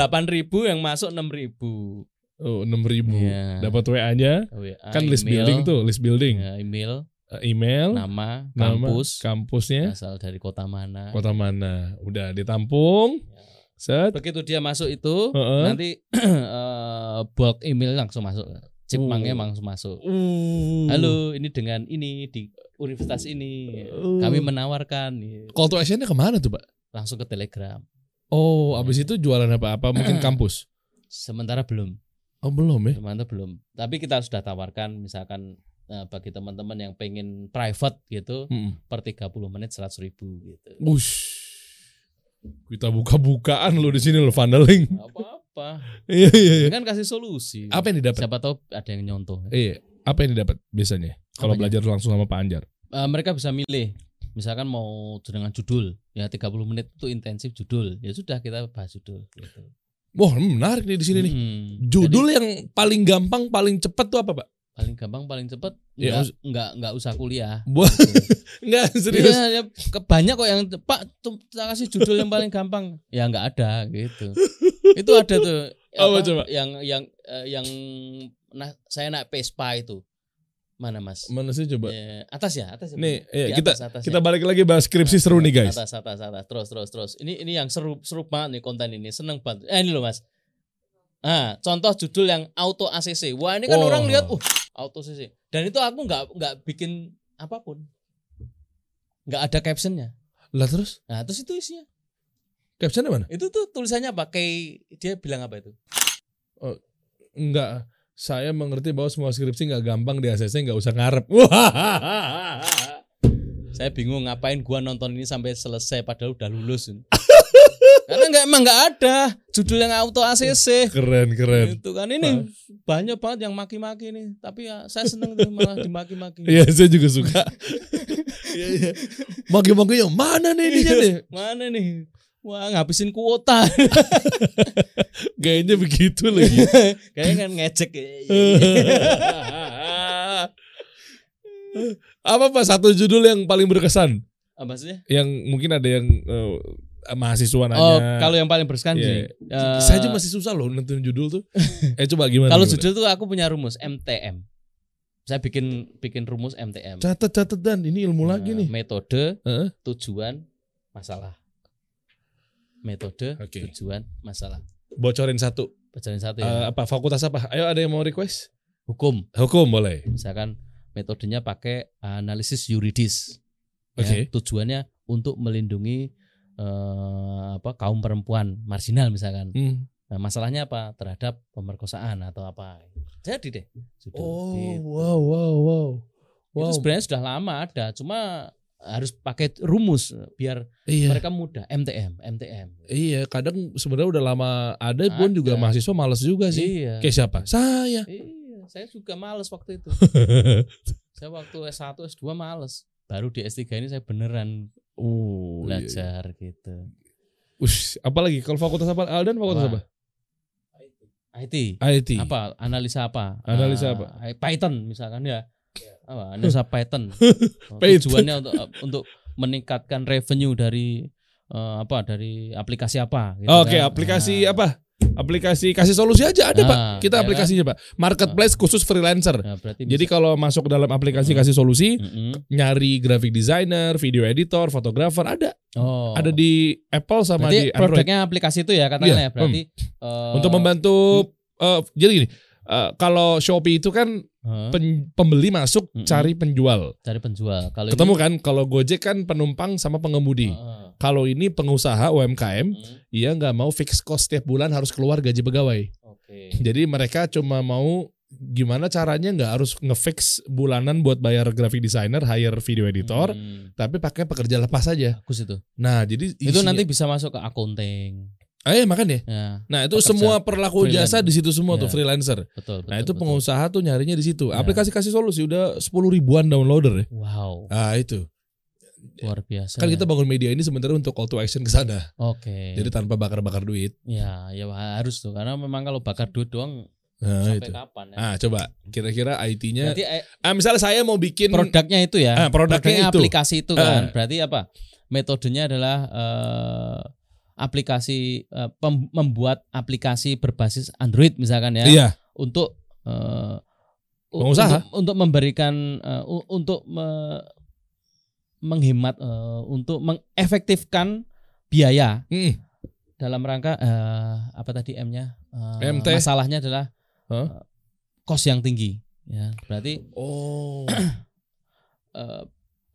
yang masuk 6.000 ribu oh, 6000. ya, Dapat WA-nya, Ah, kan list building tuh, list building. ya, email Eh, Email, Oh, nama nama, kampus Iya. kampusnya, asal dari kota mana kota mana. Udah ditampung. Set. begitu dia masuk itu Heeh. nanti eh, bulk email langsung masuk cipmangnya Uh. langsung masuk Uh. halo ini dengan ini di universitas ini kami menawarkan iya. Call to actionnya kemana tuh Pak? langsung ke telegram Oh, abis Iya. itu jualan apa-apa mungkin kampus? sementara belum Oh belum ya? Teman tuh belum. Tapi kita sudah tawarkan misalkan eh, bagi teman-teman yang pengen private gitu Mm. per 30 menit 100.000 gitu. Ush. Kita buka-bukaan lo di sini lo funneling. Nggak Apa-apa. Iya iya iya. Kan kasih solusi. Apa yang didapat? Siapa tahu ada yang nyontoh. Eh, Iya. Apa yang didapat biasanya? Kalau Apanya? belajar langsung sama Pak Anjar. Eh, mereka bisa milih misalkan mau dengan judul ya 30 menit itu intensif judul ya sudah kita bahas judul gitu. Wah menarik nih di sini nih. Mm. Judul Jadi, yang paling gampang paling cepat tuh apa Pak? paling gampang paling cepat Ya, nggak nggak nggak usah kuliah Buat gitu. nggak serius. Iya, ya, kebanyak kok yang Pak tuh kita kasih judul yang paling gampang. Ya nggak ada gitu. itu ada tuh Apa coba? yang yang eh, yang nah saya naik Vespa itu. Mana Mas? Mana sih coba? Eh, atas ya, atas ya. Nih, Di iya, atas, kita atas kita ya. balik lagi bahas skripsi seru nih guys. Atas, atas, atas. Terus, terus, terus. Ini ini yang seru seru banget nih konten ini. Seneng banget. Eh, ini loh Mas. Ah, contoh judul yang auto ACC. Wah, ini kan Oh. orang lihat uh auto ACC. Dan itu aku nggak nggak bikin apapun. Nggak ada captionnya. Lah terus Nah, terus itu isinya. captionnya mana? Itu tuh tulisannya apa? Kayak dia bilang apa itu? Enggak. Saya mengerti bahwa semua skripsi nggak gampang di ACC nggak usah ngarep. Wah. Saya bingung ngapain gua nonton ini sampai selesai padahal udah lulus. Karena nggak emang nggak ada judul yang auto ACC. Keren keren. Itu kan Nah. ini banyak banget yang maki-maki nih. Tapi ya saya seneng tuh malah dimaki-maki. Iya, saya juga suka. Iya, iya. Maki-makinya mana nih ininya nih? Mana nih? Wah ngabisin kuota. Kayaknya begitu lagi. Kayaknya kan ngecek. Apa Pak satu judul yang paling berkesan? Apa maksudnya? Yang mungkin ada yang eh, mahasiswa nanya. Oh, kalau yang paling berkesan Iya. sih. eh, saya aja masih susah loh nentuin judul tuh. Eh coba gimana? Kalau gimana? judul tuh aku punya rumus MTM. Saya bikin bikin rumus MTM. catat catat dan ini ilmu lagi Eh, nih. Metode, Heeh. tujuan, masalah. Metode, Oke. tujuan, masalah. Bocorin satu. Pelajaran satu ya. Eh, apa fakultas apa? Ayo ada yang mau request? Hukum. Hukum boleh. Misalkan metodenya pakai eh, analisis yuridis. Ya, Oke. Tujuannya untuk melindungi eh, apa kaum perempuan marginal misalkan. Hmm. Nah, masalahnya apa terhadap pemerkosaan atau apa? Jadi deh. Sudah Oh, gitu. wow, wow, wow. Wow. Itu sebenarnya sudah lama ada, cuma harus pakai rumus biar iya. mereka mudah. MTM, MTM. Iya, kadang sebenarnya udah lama ada pun Ada. juga mahasiswa males juga sih. Iya. Kayak siapa? Saya. Iya, saya juga males waktu itu. saya waktu S1, S2 males. Baru di S3 ini saya beneran Uh, iya, iya. belajar gitu. Ush, apalagi kalau fakultas apa? Aldan fakultas apa? Apa? IT. IT. Apa? Analisa apa? Analisa Eh, apa? Python misalkan ya. Apa? Analisa Python. Oh, Python. Tujuannya untuk untuk meningkatkan revenue dari eh, apa? Dari aplikasi apa gitu Oke, kan. aplikasi Nah, apa? Aplikasi kasih solusi aja ada, Ah, Pak. Kita ya kan? aplikasinya, Pak. Marketplace khusus freelancer. nah, berarti Jadi kalau masuk ke dalam aplikasi Hmm. kasih solusi, Mm-mm. nyari graphic designer, video editor, fotografer ada. Oh. Ada di Apple sama Berarti di Android. produknya aplikasi itu ya Iya, katanya ya. Berarti eh, hmm. Untuk membantu eh, jadi gini, eh, kalau Shopee itu kan eh, pen- pembeli masuk Mm-mm. cari penjual. cari penjual. Kalau ini- Ah, Ketemu kan kalau Gojek kan penumpang sama pengemudi. Heeh. Kalau ini pengusaha UMKM, Mm, ia nggak mau fix cost setiap bulan harus keluar gaji pegawai. Oke. Jadi mereka cuma mau gimana caranya nggak harus ngefix bulanan buat bayar graphic designer, hire video editor, Hmm, tapi pakai pekerja lepas aja. bagus itu. Nah, jadi Itu isinya- nanti bisa masuk ke accounting. ah, iya, makanya. Ya, Nah, itu Pekerja semua perlaku freelance. jasa di situ semua tuh Ya. freelancer. betul. Nah, betul, itu betul. pengusaha tuh nyarinya di situ. Ya. Aplikasi kasih solusi udah 10 ribuan downloader ya. Wow, Ah, itu. luar biasa. Kan ya. kita bangun media ini sebenarnya untuk call to action ke sana. Oke. Jadi tanpa bakar-bakar duit. ya, ya harus tuh karena memang kalau bakar duit doang Nah, itu. sampai kapan ya? Ah, coba kira-kira IT-nya. Berarti eh, Ah, misalnya saya mau bikin produknya itu ya. Ah, produknya itu. aplikasi itu Ah. kan. Berarti apa? Metodenya adalah eh, aplikasi eh, pem- membuat aplikasi berbasis Android misalkan ya. Iya, untuk eh, u- Pengusaha. untuk, untuk memberikan eh, u- untuk me- menghemat eh, untuk mengefektifkan biaya Mm. dalam rangka eh, apa tadi M-nya Eh, MT. masalahnya adalah Huh? eh, kos yang tinggi ya berarti Oh. eh,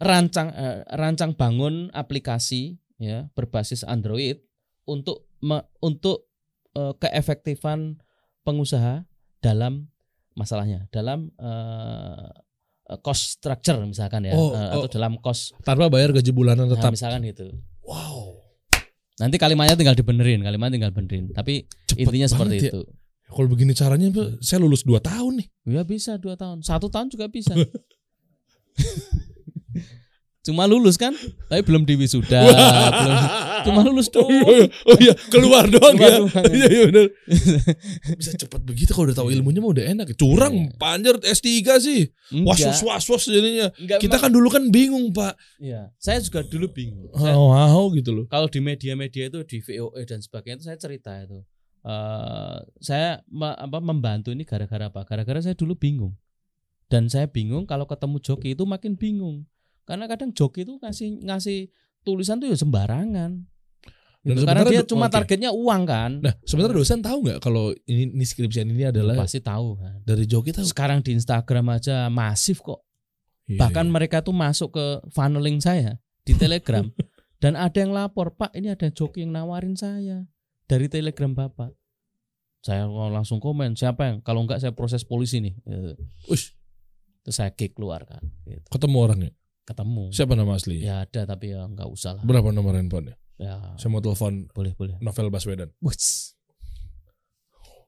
rancang eh, rancang bangun aplikasi ya berbasis Android untuk me- untuk eh, keefektifan pengusaha dalam masalahnya dalam eh, eh, cost structure misalkan ya Oh, eh, oh. atau dalam cost tanpa bayar gaji bulanan nah, tetap. misalkan gitu wow. nanti kalimatnya tinggal dibenerin kalimatnya tinggal benerin tapi Cepet intinya seperti banget ya. itu Kalau begini caranya Pak, saya lulus 2 tahun nih. ya bisa dua tahun satu tahun juga bisa cuma lulus kan tapi belum diwisuda belum Ya, cuma lulus oh, iya, doang iya. Oh iya, keluar doang Keluar ya. doang. Iya, iya benar. Bisa cepat begitu kalau udah tahu ilmunya mah udah enak. Curang Iya. panjer S3 sih. Was-was was-was jadinya. Enggak, Kita memang- kan dulu kan bingung, Pak. Iya. saya juga dulu bingung Saya- Wow, gitu loh. kalau di media-media itu di VOE dan sebagainya itu saya cerita itu Eh, saya me- apa membantu ini gara-gara apa gara-gara saya dulu bingung dan saya bingung kalau ketemu joki itu makin bingung karena kadang joki itu ngasih ngasih tulisan tuh ya sembarangan Dan Gitu. karena sebenarnya dia do- cuma oke. targetnya uang kan Nah, sebenarnya dosen tahu nggak kalau ini, ini skripsian ini adalah pasti tahu kan dari joki tahu. sekarang di Instagram aja masif kok Iya, Bahkan mereka tuh masuk ke funneling saya di Telegram dan ada yang lapor, "Pak, ini ada joki yang nawarin saya dari Telegram Bapak." Saya langsung komen, "Siapa yang? Kalau enggak saya proses polisi nih." iya. Gitu. Ush, Terus saya kick keluar kan. Gitu. ketemu orangnya. Ketemu. Siapa nama asli? Ya ada tapi ya enggak usah lah. Berapa nomor handphonenya? Ya, Saya mau telepon boleh boleh. Novel Baswedan. Wuts.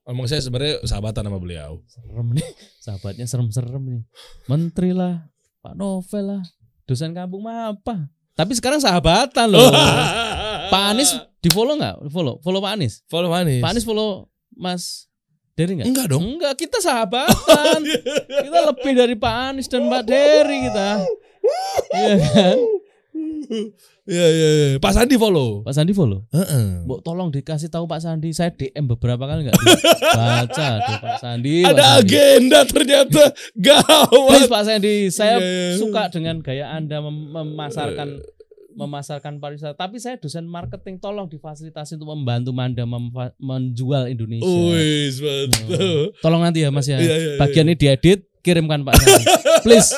Emang saya sebenarnya sahabatan sama beliau. Serem nih. Sahabatnya serem-serem nih. Menteri lah, Pak Novel lah, dosen kampung mah apa. Tapi sekarang sahabatan loh. Pak Anies di follow nggak? Follow, follow Pak Anies. follow Pak Anies. Pak Anies follow Mas Dery nggak? Enggak dong. Oh, iya. Enggak, kita sahabatan. kita lebih dari Pak Anies dan Pak Dery kita. Iya kan? Iya iya iya. Pak Sandi follow. Pak Sandi follow. Heeh. Mbok tolong dikasih tahu Pak Sandi. Saya DM beberapa kali nggak dibaca tuh Pak Sandi. Pak Ada Sandi. agenda ternyata Please gawat. Pak Sandi, saya Iya, iya. suka dengan gaya Anda mem- memasarkan memasarkan pariwisata. Tapi saya dosen marketing, tolong difasilitasi untuk membantu Anda memfa- menjual Indonesia. Wih, mantap. Tolong nanti ya Mas ya. Oh, Iya, iya, Bagian ini diedit, kirimkan Pak Sandi. Please.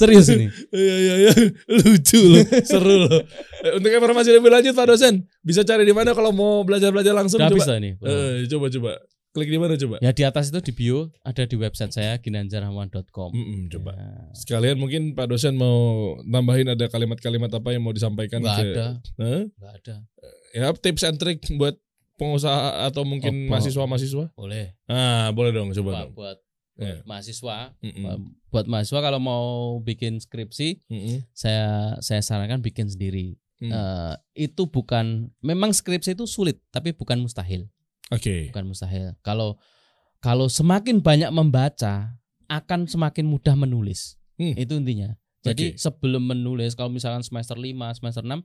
Serius ini. Iya iya iya. Lucu loh, seru loh. Eh, Untuk informasi lebih lanjut Pak dosen, bisa cari di mana kalau mau belajar-belajar langsung Udah habis coba. lah ini. Eh, coba coba. Klik di mana coba? Ya di atas itu di bio ada di website saya ginanjarahman.com. Mm-mm, Hmm, coba. Ya. Sekalian mungkin Pak dosen mau tambahin ada kalimat-kalimat apa yang mau disampaikan Nggak Kan ke ada, Hah? nggak ada. Ya tips and trick buat pengusaha atau mungkin Apa? mahasiswa-mahasiswa. Boleh. Ah, boleh Hmm. dong coba Buat, dong. buat Ya. mahasiswa, Mm-mm, buat mahasiswa kalau mau bikin skripsi, mm-mm, saya saya sarankan bikin sendiri. mm. Eh, itu bukan memang skripsi itu sulit, tapi bukan mustahil. Oke. bukan mustahil. Kalau kalau semakin banyak membaca akan semakin mudah menulis. Hmm. Itu intinya. Jadi Oke. sebelum menulis kalau misalkan semester 5, semester 6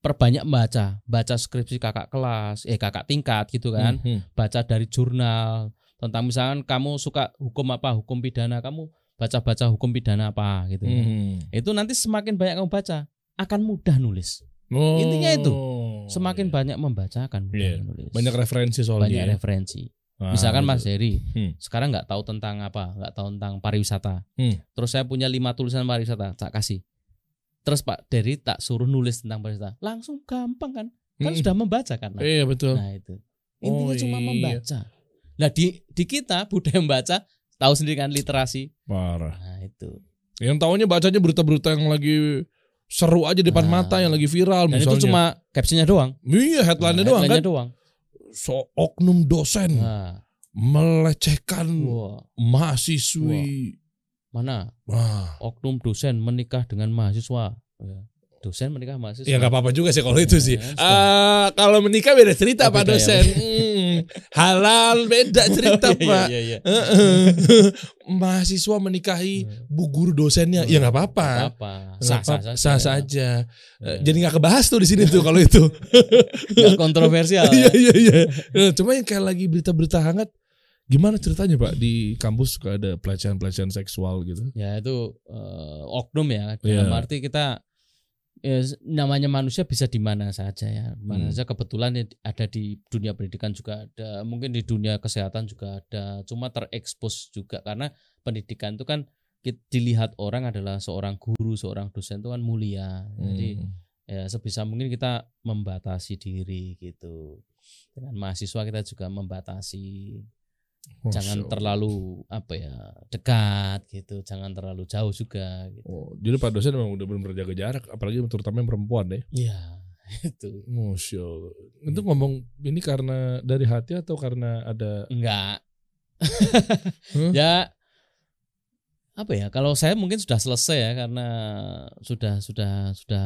perbanyak baca, baca skripsi kakak kelas, eh kakak tingkat gitu kan, Mm, mm. baca dari jurnal tentang misalkan kamu suka hukum apa, hukum pidana, kamu baca-baca hukum pidana apa gitu. ya. Mm. Itu nanti semakin banyak kamu baca akan mudah nulis. Oh, Intinya itu, iya. Semakin banyak membaca akan mudah Iya. menulis. banyak referensi banyak soalnya. ya. referensi. Ah, Misalkan betul. Mas Heri Hmm. sekarang nggak tahu tentang apa, nggak tahu tentang pariwisata. Hmm. Terus saya punya lima tulisan pariwisata, tak kasih. Terus Pak Dery tak suruh nulis tentang pariwisata, langsung gampang kan? Kan Mm-mm. sudah membaca kan? gitu. Nah, Hmm. Iya betul. Nah itu intinya Oh, cuma iya. membaca. Nah di di kita budaya membaca tahu sendiri kan literasi. Parah. Nah itu. Yang tahunya bacanya berita-berita yang lagi seru aja di depan Nah. mata yang lagi viral Dan misalnya. itu cuma captionnya doang. iya headline-nya Nah, doang kan. Hmm. headline-nya doang. So oknum dosen Nah, melecehkan wah, mahasiswi. mana Wah. oknum dosen menikah dengan mahasiswa. Ya. Dosen menikah mahasiswa. Ya nggak apa-apa juga sih kalau itu Ya, sih. sudah. Ah, kalau menikah beda cerita Oh, Pak beda ya, dosen. Hmm, halal beda cerita Iya, Pak. Iya, iya, iya. Heeh. mahasiswa menikahi Hmm. bu guru dosennya ya nggak apa-apa. apa Sah sah sah, sah sah, saja. Eh, ya. Iya. Jadi nggak kebahas tuh di sini tuh kalau itu. Nggak kontroversial Iya iya iya. Nah, Cuma yang kayak lagi berita-berita hangat, gimana ceritanya Pak di kampus suka ada pelecehan-pelecehan seksual gitu? ya itu eh, oknum ya dalam Iya. arti kita ya, namanya manusia bisa di mana saja ya Di mana Hmm. saja kebetulan ya ada di dunia pendidikan juga ada mungkin di dunia kesehatan juga ada cuma terekspos juga karena pendidikan itu kan ki- dilihat orang adalah seorang guru seorang dosen itu kan mulia jadi Hmm. ya sebisa mungkin kita membatasi diri gitu dengan mahasiswa kita juga membatasi Masya jangan Allah. terlalu apa ya dekat gitu jangan terlalu jauh juga gitu Oh, jadi Pak dosen memang udah benar jaga jarak, apalagi terutama yang perempuan ya. ya itu Masya Allah. Itu Iya. ngomong ini karena dari hati atau karena ada? enggak Hmm? ya apa ya kalau saya mungkin sudah selesai ya karena sudah sudah sudah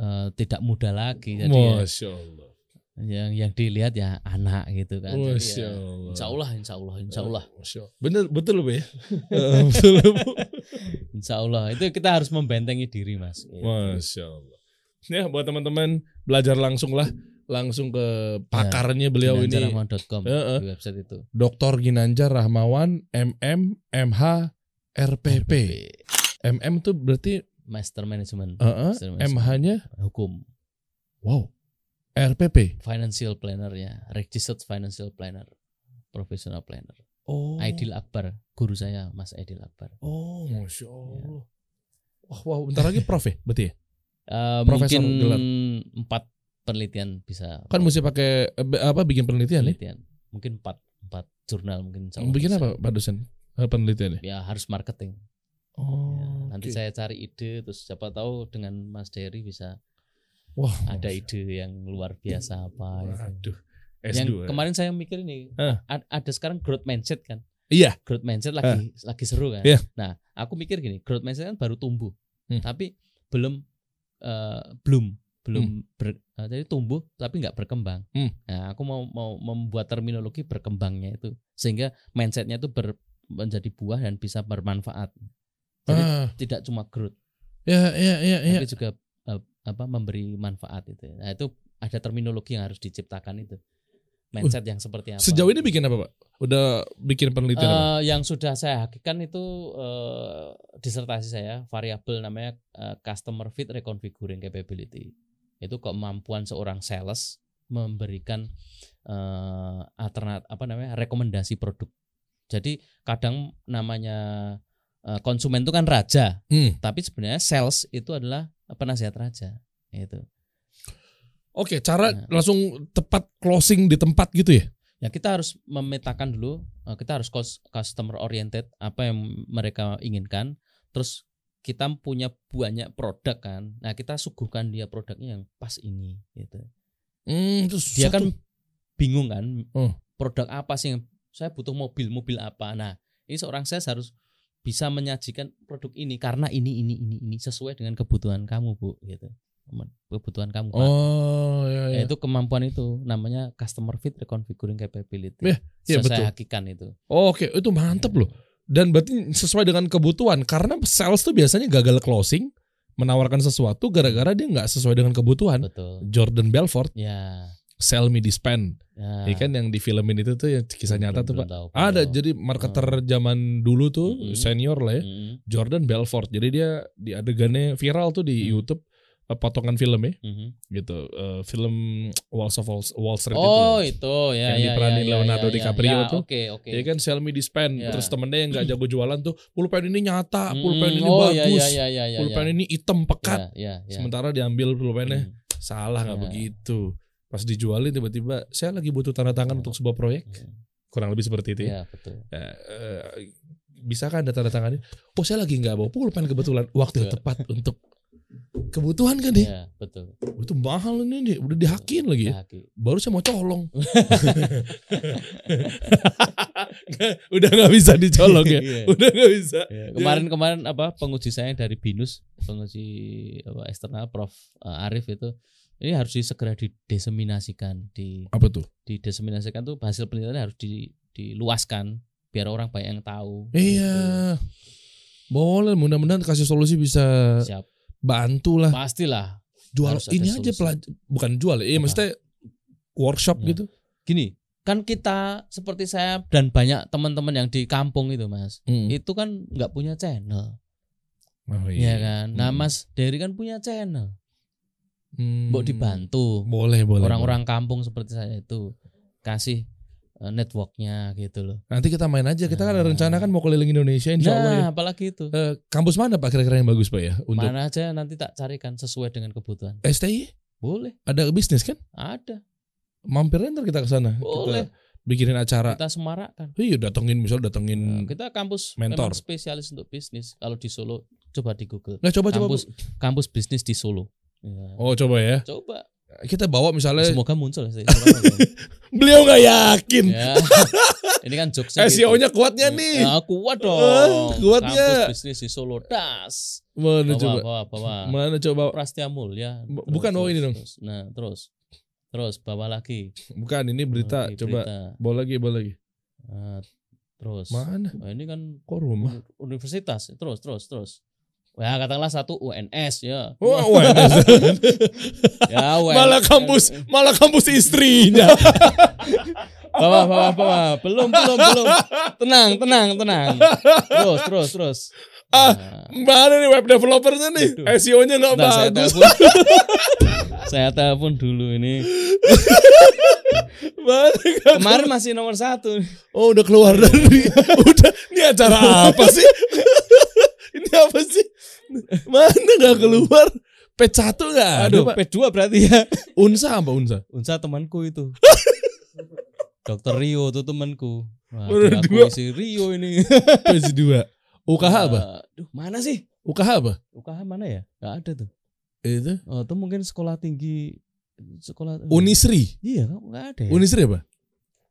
eh, tidak muda lagi jadi ya, Masya Allah. yang yang dilihat ya anak gitu kan Jadi Masya ya, Allah. insya Allah insya Allah insya Allah Masya Allah. Bener betul Bu ya. Eh, betul Bu. Insya Allah itu kita harus membentengi diri mas. Gitu. Masya Allah. Ya buat teman-teman belajar langsung lah, langsung ke Ya, pakarnya beliau ini. Ginanjarahman.com Heeh. di website itu. Dr. Ginanjar Rahmawan MM MH RPP. MM tuh berarti Master Management. eh, eh, Master Management. MH-nya hukum, wow. RPP. financial planner ya, registered financial planner, professional planner. Oh. Aidil Akbar, guru saya Mas Aidil Akbar. Oh, Iya. masya Allah. Wah, wah, bentar lagi prof ya, berarti ya? Eh, Profesor mungkin gelar. empat penelitian bisa. Kan mesti pakai eh, be- apa bikin penelitian ya? penelitian. Mungkin empat empat jurnal mungkin. Iya, insya Allah Bikin bisa. apa, Pak dosen? Eh, Penelitiannya? Ya harus marketing. Ya, Oh. Nanti oke. saya cari ide, terus siapa tahu dengan Mas Dery bisa Wah, ada masya- ide yang luar biasa apa. gitu. Waduh. ya? yang S2. kemarin saya mikir ini Hah. a- ada sekarang growth mindset kan Iya. growth mindset lagi lagi seru kan Iya. nah aku mikir gini growth mindset kan baru tumbuh Hmm. tapi belum eh, belum belum ber- eh, jadi tumbuh tapi nggak berkembang Hmm. nah aku mau mau membuat terminologi berkembangnya itu sehingga mindsetnya itu ber- menjadi buah dan bisa bermanfaat jadi Ah, tidak cuma growth ya, ya, ya, ya. tapi juga eh, apa memberi manfaat itu nah itu ada terminologi yang harus diciptakan itu mindset yang seperti apa Sejauh ini bikin apa, Pak? Udah bikin penelitian apa? Eh, yang sudah saya hakikan itu eh, disertasi saya variabel namanya eh, customer fit reconfiguring capability itu kemampuan seorang sales memberikan eh alternat apa namanya rekomendasi produk jadi kadang namanya eh, konsumen itu kan raja, Hmm. tapi sebenarnya sales itu adalah penasehat raja. gitu. Itu. Oke, cara Nah. langsung tepat closing di tempat gitu ya. Ya kita harus memetakan dulu, eh, kita harus cos- customer oriented apa yang mereka inginkan. Terus kita punya banyak produk kan. Nah, kita suguhkan dia produknya yang pas ini gitu. Hmm, terus dia satu. kan bingung kan Oh. produk apa sih yang saya butuh mobil mobil apa nah ini seorang sales harus bisa menyajikan produk ini karena ini ini ini ini sesuai dengan kebutuhan kamu bu gitu Mem- kebutuhan kamu Pak. Oh, ya, Nah, ya. itu kemampuan itu namanya customer fit reconfiguring capability Iya, iya, Saya- saya betul. hakikan itu Oh, Oke, Iya, itu mantep loh. Dan berarti sesuai dengan kebutuhan karena sales tuh biasanya gagal closing, menawarkan sesuatu gara-gara dia nggak sesuai dengan kebutuhan. betul Jordan Belfort, ya Sell Me This Pen, ya ya kan yang difilmin itu tuh yang kisah nyata tuh pak. Belum- belum tahu, Ada belum. jadi marketer zaman dulu tuh Oh. Ah. Mm-mm. senior lah ya, Mm-mm, Jordan Belfort. Jadi dia di adegannya viral tuh di Mm. YouTube eh, potongan filmnya mhm. gitu, Eh, film Walls of Wall, Wall Street oh itu. itu ya Yang ya, diperanin ya, ya, Leonardo ya, DiCaprio ya, tuh. oke oke Ya kan sell me this pen. Ya. Terus temennya yang nggak jago jualan tuh pulpen ini nyata, Ah, Mm-mm. pulpen ini oh, ya, bagus, ya, ya, ya, ya, pulpen ya. ini hitam pekat. ya, ya, ya. Sementara diambil pulpennya Mm. salah nggak Ya. begitu. Pas dijualin tiba-tiba saya lagi butuh tanda tangan Ya. untuk sebuah proyek. Kurang lebih seperti itu ya. Iya betul. Eh, eh, bisa kan ada tanda tangannya? Oh saya lagi nggak bawa pulpen kebetulan. Waktu yang Ya. tepat untuk kebutuhan kan deh. Iya betul. Oh, Itu mahal ini nih. Udah dihakin lagi ya. Ya, Ki. Baru saya mau colong. Udah nggak bisa dicolong ya. Iya. Udah nggak bisa. Iya. Kemarin kemarin apa penguji saya dari binus penguji apa, eksternal Prof eh, Arif itu ini harus di- segera dideseminasikan di Apa tuh? dideseminasikan tuh hasil penelitian harus di- diluaskan biar orang banyak yang tahu. Iya. Boleh mudah-mudahan kasih solusi bisa Gitu. Siap. bantu lah Pastilah. jual Oh, harus ada ini aja solusi. pelaj- bukan jual ya, Iya, Apa? maksudnya workshop Ya. gitu. Gini kan kita seperti saya dan banyak teman-teman yang di kampung itu mas itu kan nggak punya channel Hmm. Oh, ya kan nah Hmm. mas Derry kan punya channel Hmm. Mbok dibantu Boleh, boleh. orang-orang kampung seperti saya itu kasih eh, networknya gitu loh. boleh. Nanti kita main aja. Kita kan ada Nah. rencana kan mau keliling Indonesia insya Allah ya. Nah, apalagi itu. Eh, kampus mana Pak kira-kira yang bagus Pak ya untuk Mana aja nanti tak carikan sesuai dengan kebutuhan. STI? Boleh, Ada bisnis kan? ada. Mampirnya ntar kita ke sana. Boleh. Kita bikinin acara. Kita semarakkan. Nah, Iya, datengin misal datengin. Kita kampus Hmm. Mentor. memang spesialis untuk bisnis. Kalau di Solo coba di Google. Nah, coba coba. Kampus kampus bisnis di Solo. Ya. Oh, coba ya. Coba. Kita bawa misalnya Semoga muncul. ya, sih. beliau nggak yakin. ya. Ini kan jokesnya gitu. SEO-nya kuatnya E nih. Ya, kuat Eh, dong. kuatnya. Kampus bisnis di Solo das. Mana Bawa, coba? bawa, bawa. Mana coba? Prastia Mulia. Bu- Terus, bukan, oh, terus, ini dong. terus. Nah, terus. Terus bawa lagi. Bukan ini berita. Lagi coba berita. bawa lagi, bawa lagi. Nah, terus. Mana? Oh, ini kan Kok rumah? uni- universitas. Terus, terus, terus. Ya katakanlah satu UNS ya. Wah, wah, ya UNS. malah kampus, malah kampus istrinya. Bawa, bawa, bawa. Belum, belum, belum. Tenang, tenang, tenang. Terus, terus, terus. Ah, Nah, Mana nih web developernya nih? Aduh. SEO-nya nggak bentar, saya bagus. telepon. saya telepon dulu ini. Mana kan? Kemarin masih nomor satu. Oh, udah keluar dari. udah. Ini acara apa sih? ini apa sih? Mana nggak keluar? Pet satu nggak? ada, Aduh, Pak. P2 berarti ya. Unsa apa Unsa? Unsa temanku itu. Dokter Rio tuh temanku. Wah, Udah diakui dua. si Rio ini. Pet dua. UKH apa? Aduh, mana sih? UKH apa? UKH mana ya? Gak ada tuh. Itu. Oh, itu mungkin sekolah tinggi sekolah eh, Unisri. Iya, enggak ada. Ya? Unisri apa?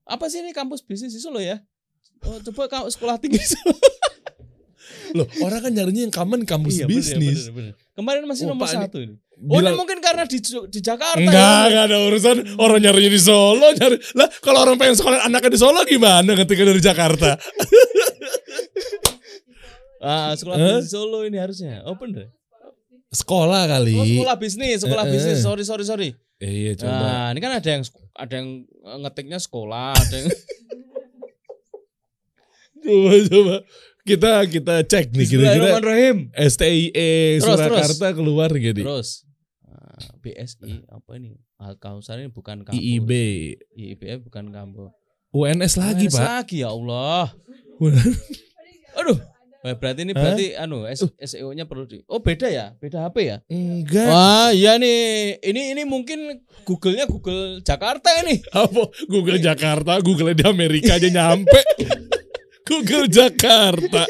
Apa sih ini kampus bisnis di Solo ya? Oh, coba kau sekolah tinggi Solo. Loh, orang kan nyarinya yang common kampus Iya, bener, bisnis. bener, bener. Kemarin masih Oh, nomor Pak, ini- satu ini. Oh, ini Bilang- mungkin karena di, di Jakarta. Enggak, ya. enggak ada urusan orang nyarinya di Solo. Nyari. Lah, kalau orang pengen sekolah anaknya di Solo gimana ketika dari Jakarta? Ah, sekolah Eh? bisnis di Solo ini harusnya. Oh, bener. Sekolah kali. Oh, sekolah bisnis, sekolah Eh, eh. bisnis. Sorry, sorry, sorry. Eh, iya, coba. Nah, ini kan ada yang ada yang eh, ngetiknya sekolah, ada yang Coba coba. Kita kita cek nih kira-kira Bismillahirrahmanirrahim. STIE E, Terus, Surakarta keluar gitu. Terus eh, BSI apa ini? Al Kausar ini bukan kampus. IIB, IIB eh, bukan kampus. UNS lagi, UNS Pak. Lagi ya Allah. Udah. Aduh. Wah, berarti Hah? ini Uh. berarti anu S- SEO-nya perlu di. Oh, beda ya? Beda HP ya? Enggak. Wah, iya nih. Ini ini mungkin Google-nya Google Jakarta ini. Apa? Google Jakarta, Google di Amerika aja nyampe. Google Jakarta.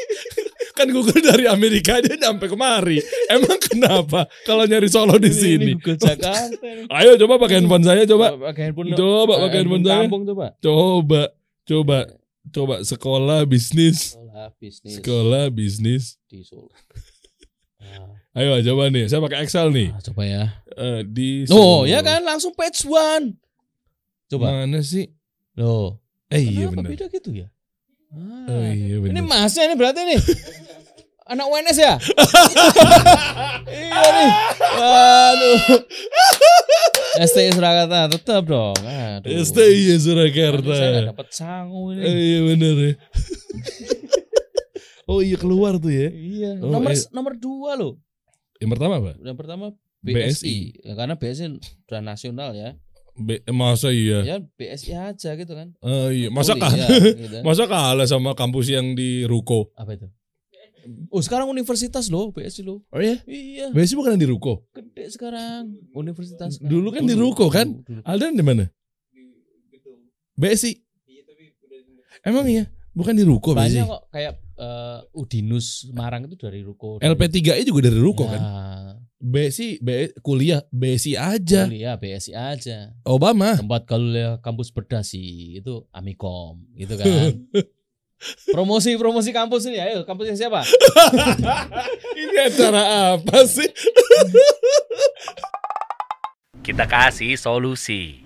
Kan Google dari Amerika aja nyampe kemari. Emang kenapa kalau nyari Solo di Ini- sini? Ini Google Jakarta ini. Ayo coba pakai handphone saya coba. pakai handphone. Coba pakai Eh, handphone saya. Kampung coba. Coba, coba, coba sekolah bisnis, Sekolah bisnis sekolah bisnis. di Solo. Ah, Ayo coba nih, saya pakai Excel nih. ah, coba ya. Eh, di Oh, Solo. ya kan langsung page one. Coba. Mana sih? Loh. Eh Nah. iya kenapa benar. beda gitu ya? Ah, Oh iya ini benar. masnya ini berarti nih. Anak UNS ya? iya nih. Waduh. STI Surakarta tetap dong. Aduh. STI Saya nggak Surakarta. dapat sangu Eh, ini. iya benar ya. oh iya keluar tuh ya. Iya. Oh, nomor eh. nomor dua loh. Yang pertama apa? Yang pertama BSI. BSI. Ya, karena BSI sudah nasional ya. B- masa iya. Ya BSI aja gitu kan. Eh, iya. Masa Uni, kah? ya, gitu. Masa kalah sama kampus yang di Ruko? Apa itu? Oh sekarang universitas loh BSI loh. Oh iya. Iya. Biasanya bukan yang di Ruko. gede sekarang universitas sekarang. Dulu kan di ruko, kan? Dulu. Aldan di Iya, mana? BSI. Emang iya, bukan di Ruko banyak BSI. kok kayak eh, Udinus Semarang itu dari ruko LP3I juga dari Ruko ya, kan. BSI, B- kuliah BSI aja. Ya, kuliah BSI aja Obama. tempat kuliah kampus berdasi itu Amikom gitu kan promosi promosi kampus ini ayo kampusnya siapa Ini acara apa sih? Kita kasih solusi.